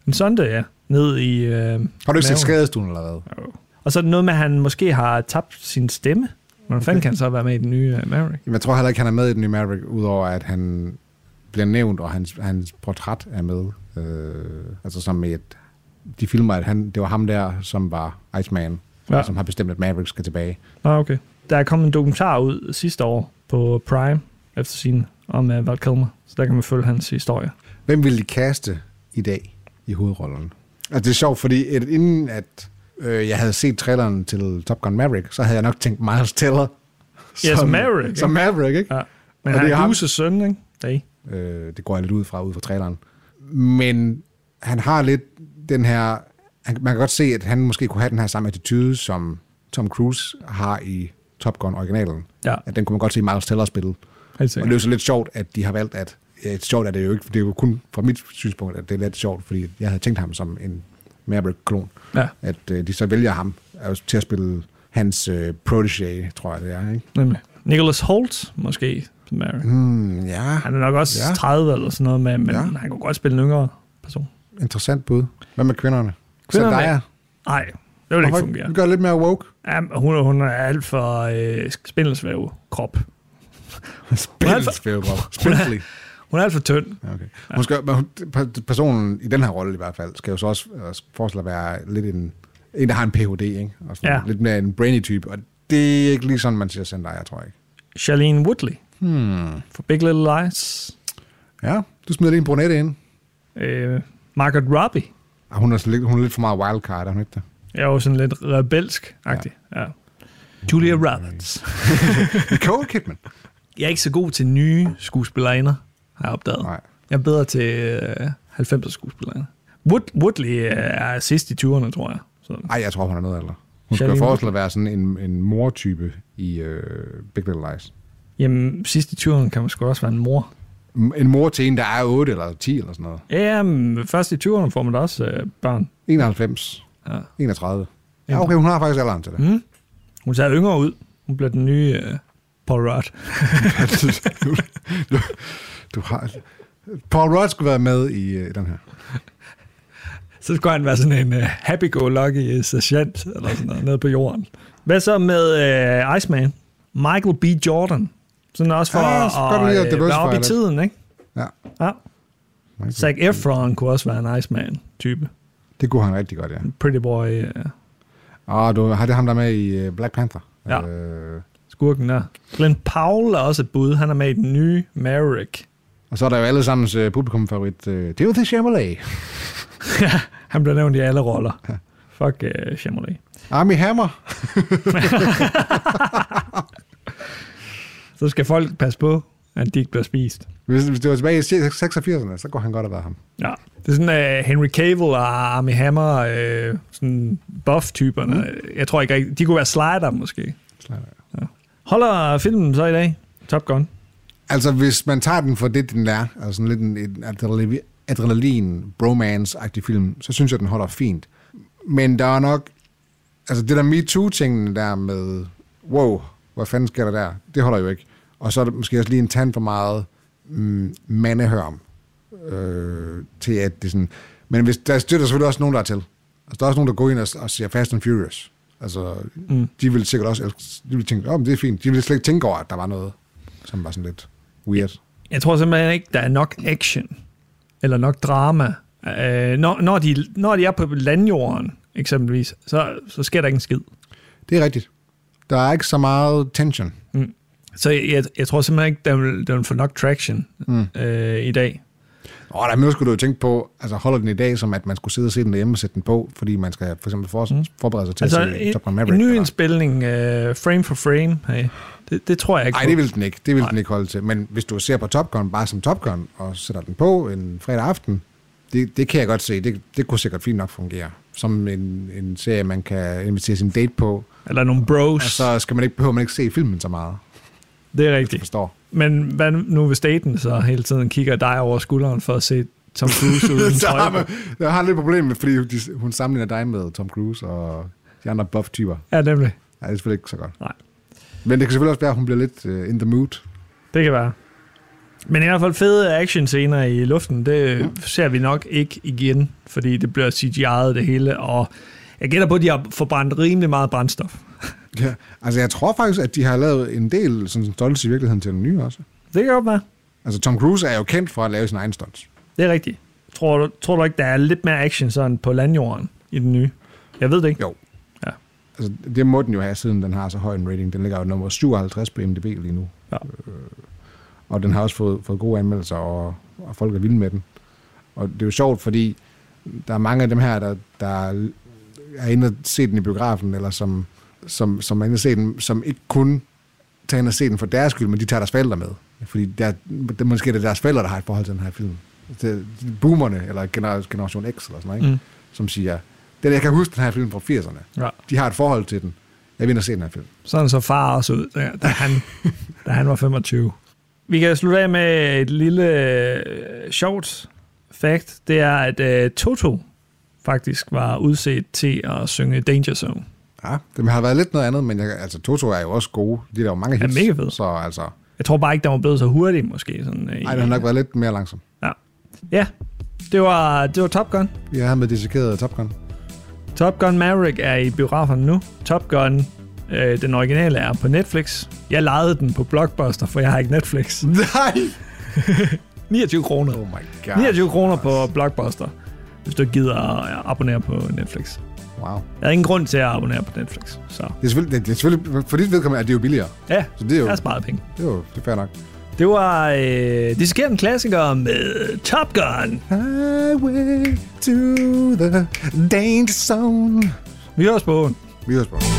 Speaker 1: en sonde, ja, ned i øh,
Speaker 2: Har du ikke set
Speaker 1: maven.
Speaker 2: skadestuen eller hvad?
Speaker 1: Og så er det noget med, at han måske har tabt sin stemme. Hvordan fanden kan han så være med i den nye uh, Maverick?
Speaker 2: Jamen, jeg tror heller ikke, han er med i den nye Maverick, udover at han bliver nævnt, og hans, hans portræt er med. Øh, altså som i et... De filmer, at han, det var ham der, som var Iceman,
Speaker 1: Ja.
Speaker 2: ja. som har bestemt, at Maverick skal tilbage.
Speaker 1: Nå, okay. Der er kommet en dokumentar ud sidste år på Prime, efter sin om uh, Val Kilmer. Så der kan man følge hans historie.
Speaker 2: Hvem ville de kaste i dag i hovedrollen? Altså, det er sjovt, fordi et, inden at øh, jeg havde set traileren til Top Gun Maverick, så havde jeg nok tænkt Miles Teller.
Speaker 1: Ja, som Maverick, ikke?
Speaker 2: Som Maverick, ikke?
Speaker 1: Ja. Men
Speaker 2: Og
Speaker 1: han
Speaker 2: det
Speaker 1: er
Speaker 2: er ham.
Speaker 1: Huses søn, ikke? Nej.
Speaker 2: Øh, det går jeg lidt ud fra, ud fra traileren. Men han har lidt den her... Han, man kan godt se, at han måske kunne have den her samme attitude, som Tom Cruise har i Top Gun-originalen.
Speaker 1: Ja,
Speaker 2: At den kunne man godt se Miles Teller spille.
Speaker 1: helt
Speaker 2: Og det er jo
Speaker 1: sikkert.
Speaker 2: så lidt sjovt, at de har valgt at... Ja, det er sjovt er det jo ikke, det er jo kun fra mit synspunkt, at det er lidt sjovt, fordi jeg havde tænkt ham som en Maverick-klon.
Speaker 1: Ja,
Speaker 2: At øh, de så vælger ham øh, til at spille hans øh, protege, tror jeg det er. Ikke?
Speaker 1: nemlig. Nicholas Holt, måske, som Maverick. Mm.
Speaker 2: Hmm, ja,
Speaker 1: Han er nok også ja.
Speaker 2: Ja.
Speaker 1: 30 eller sådan noget, men, men ja.
Speaker 2: Ja.
Speaker 1: han kunne godt spille en yngre person.
Speaker 2: interessant bud. Hvad med kvinderne?
Speaker 1: Kvinderne-
Speaker 2: Zendaya?
Speaker 1: Nej, det vil ikke
Speaker 2: Hvorfor-
Speaker 1: fungere.
Speaker 2: Vi gør lidt mere woke.
Speaker 1: Ja, men hun, er- hun er alt for øh, spindelsvæv krop.
Speaker 2: Spindelsvævbrød. Spindelig.
Speaker 1: Hun er alt for tynd.
Speaker 2: Ja, Okay. Hun skal, men hun- per- personen i den her rolle i hvert fald, skal jo så også øh, forestille at være lidt en, en, der har en Ph.D., ikke? Og sådan
Speaker 1: Ja.
Speaker 2: Lidt mere en brainy type, og det er ikke lige sådan, man siger Zendaya, tror jeg ikke.
Speaker 1: Charlene Woodley. Hmm. For Big Little Lies.
Speaker 2: Ja, du smider lige en brunette ind.
Speaker 1: Øh, Margaret Robbie.
Speaker 2: Ah, hun, er sådan lidt, hun er lidt for meget wildcard, er hun ikke det?
Speaker 1: Jeg er jo sådan lidt rebelsk-agtig. Ja. Hmm. ja. Julia Roberts.
Speaker 2: Nicole Kidman.
Speaker 1: Jeg er ikke så god til nye skuespillerinder, har jeg opdaget.
Speaker 2: Nej.
Speaker 1: Jeg er bedre til øh, 90'er skuespillerinder. Wood, Woodley øh, er sidst i 20'erne, tror jeg. Så.
Speaker 2: Ej, jeg tror, hun er noget ældre. Hun skal
Speaker 1: Charlene
Speaker 2: jo forestille at være sådan en, en mor-type i øh, Big Little Lies.
Speaker 1: Jamen, sidst i 20'erne kan man sgu da også være en mor.
Speaker 2: M- En mor til en, der er 8 eller 10 eller sådan noget.
Speaker 1: Ja, men først i 20'erne får man da også øh, børn.
Speaker 2: 91.
Speaker 1: Ja.
Speaker 2: 31. Ja, okay, hun har faktisk alderen til det. Mm.
Speaker 1: Hun ser yngre ud. Hun bliver den nye øh, Paul Rudd.
Speaker 2: du, du, du har... Paul Rudd skulle være med i øh, den her.
Speaker 1: Så skulle han være sådan en uh, happy-go-lucky sergeant, eller sådan noget, nede på jorden. Hvad så med uh, Iceman? Michael B. Jordan. Sådan også for
Speaker 2: Ja, Ah, så godt lige
Speaker 1: at,
Speaker 2: at
Speaker 1: at øh, være
Speaker 2: diversify
Speaker 1: oppe i
Speaker 2: lidt.
Speaker 1: tiden, ikke?
Speaker 2: Ja.
Speaker 1: Ja. Zac Efron kunne også være en Iceman-type.
Speaker 2: Det kunne han rigtig godt, ja.
Speaker 1: Pretty boy uh,
Speaker 2: Og du har det ham, der er med i øh, Black Panther.
Speaker 1: Ja.
Speaker 2: Øh,
Speaker 1: skurken der. Glenn Powell er også et bud. Han er med i den nye Maverick.
Speaker 2: og så er der jo allesammens øh, publikumfavorit, øh, Timothy Chalamet.
Speaker 1: Han bliver nævnt i alle roller. Fuck uh, Shyamalan.
Speaker 2: Army Hammer.
Speaker 1: Så skal folk passe på, at de ikke bliver spist.
Speaker 2: Hvis, hvis det var tilbage i 86'erne, så kunne han godt have været ham.
Speaker 1: Ja. Det er sådan uh, Henry Cavill og Armie Hammer, uh, sådan buff-typerne. Mm. Jeg tror ikke rigtig, de kunne være slider måske.
Speaker 2: Slider,
Speaker 1: Ja. Holder filmen så i dag? Top Gun.
Speaker 2: Altså, hvis man tager den for det, den er, altså sådan lidt en, en adrenalin- adrenalin, bromance-agtig film, så synes jeg, den holder fint. Men der er nok... Altså, det der MeToo-tingen der med, wow, hvad fanden sker der der? Det holder jo ikke. Og så er der måske også lige en tand for meget mm, mandehørm øh, til, at det er sådan... Men hvis, der støtter selvfølgelig også nogen, der er til. Altså, der er også nogen, der går ind og, og siger Fast and Furious. Altså, mm. de vil sikkert også... elske- De vil tænke, åh, oh, det er fint. De vil slet ikke tænke over, at der var noget, som var sådan lidt weird.
Speaker 1: Jeg tror simpelthen ikke, der er nok action, eller nok drama. Uh, når, når, de, når de er på landjorden, eksempelvis, så, så sker der ikke en skid.
Speaker 2: Det er rigtigt. Der er ikke så meget tension.
Speaker 1: Så jeg, jeg, jeg tror simpelthen ikke, der vil, der vil få nok traction mm. uh, i dag.
Speaker 2: Og der er skulle du jo tænke på, altså holder den i dag, som at man skulle sidde og se den derhjemme og sætte den på, fordi man skal for eksempel for, forberede sig
Speaker 1: Mm.
Speaker 2: til
Speaker 1: Altså
Speaker 2: at se Top Gun
Speaker 1: en, en
Speaker 2: Maverick.
Speaker 1: ny
Speaker 2: eller-
Speaker 1: indspilning, uh, frame for frame, hey, det Det, det tror jeg ikke
Speaker 2: Nej,
Speaker 1: på.
Speaker 2: det vil den ikke. Det vil den ikke holde til. Men hvis du ser på Top Gun bare som Top Gun, og sætter den på en fredag aften, det, det kan jeg godt se. Det, det kunne sikkert fint nok fungere. Som en, en serie, man kan invitere sin date på.
Speaker 1: Eller nogle bros.
Speaker 2: Og så skal man ikke, behøver man ikke se filmen så meget.
Speaker 1: Det er rigtigt.
Speaker 2: forstår.
Speaker 1: Men hvad nu hvis staten så hele tiden kigger dig over skulderen for at se Tom Cruise uden
Speaker 2: så
Speaker 1: trøje
Speaker 2: har
Speaker 1: på?
Speaker 2: man, jeg har lidt problem med, fordi de, hun sammenligner dig med Tom Cruise og de andre buff-typer.
Speaker 1: Ja, nemlig.
Speaker 2: Nej, det er selvfølgelig ikke så godt.
Speaker 1: Nej.
Speaker 2: Men det kan selvfølgelig også være, at hun bliver lidt uh, in the mood.
Speaker 1: Det kan være. Men i hvert fald fede action scener i luften, det mm. ser vi nok ikke igen, fordi det bliver CGI'et det hele, og jeg gætter på, at de har forbrændt rimelig meget brændstof.
Speaker 2: Ja. Altså, jeg tror faktisk, at de har lavet en del sådan stunts i virkeligheden til den nye også.
Speaker 1: Det kan godt være.
Speaker 2: Altså, Tom Cruise er jo kendt for at lave sin egen stunts.
Speaker 1: Det er rigtigt. Tror du, tror du ikke, der er lidt mere action sådan på landjorden i den nye? Jeg ved det ikke.
Speaker 2: Jo.
Speaker 1: Ja.
Speaker 2: Altså, det må den jo have, siden den har så høj en rating. Den ligger jo nummer 57 på MDB lige nu.
Speaker 1: Ja.
Speaker 2: Øh, og den har også fået, fået gode anmeldelser, og, og folk er vilde med den. Og det er jo sjovt, fordi der er mange af dem her, der, der er inde og se den i biografen, eller som, som, som er inde og se den, som ikke kun tager ind og se den for deres skyld, men de tager deres forældre med. Fordi der, det, måske er det deres forældre, der har et forhold til den her film. Det, boomerne, eller gener- Generation X, eller sådan noget, ikke?
Speaker 1: Mm.
Speaker 2: Mm. som siger, den, jeg kan huske den her film fra 80'erne.
Speaker 1: Ja.
Speaker 2: De har et forhold til den. Jeg vil ind og se den her film.
Speaker 1: Sådan så far også ud, da, da, han, da han var 25. Vi kan slutte af med et lille øh, sjovt fact. Det er, at øh, Toto faktisk var udset til at synge Danger Zone.
Speaker 2: Ja, det har været lidt noget andet, men jeg, altså, Toto er jo også gode. De der jo mange
Speaker 1: Ja,
Speaker 2: hits.
Speaker 1: mega fed.
Speaker 2: Så altså,
Speaker 1: Jeg tror bare ikke, der var blevet så hurtigt, måske. Sådan, øh, i-
Speaker 2: ej, den har nok været lidt mere langsom.
Speaker 1: ja. ja, det var, det var Top Gun.
Speaker 2: Jeg har med dissekeret Top Gun.
Speaker 1: Top Gun Maverick er i biograferne nu. Top Gun, øh, den originale, er på Netflix. Jeg lejede den på Blockbuster, for jeg har ikke Netflix.
Speaker 2: Nej!
Speaker 1: 29 kroner.
Speaker 2: Oh my god.
Speaker 1: 29 kroner på Blockbuster, hvis du ikke gider at abonnere på Netflix.
Speaker 2: Wow.
Speaker 1: Jeg har ingen grund til at abonnere på Netflix, så
Speaker 2: Det er selvfølgelig, det, det er selvfølgelig for dit vedkommende er det jo billigere.
Speaker 1: ja,
Speaker 2: Så det er jo,
Speaker 1: jeg har sparet penge.
Speaker 2: det er jo det er fair nok.
Speaker 1: Det var øh, Dissekerende Klassiker med Top Gun.
Speaker 2: Highway to the danger zone.
Speaker 1: Vi høres på.
Speaker 2: Vi høres på.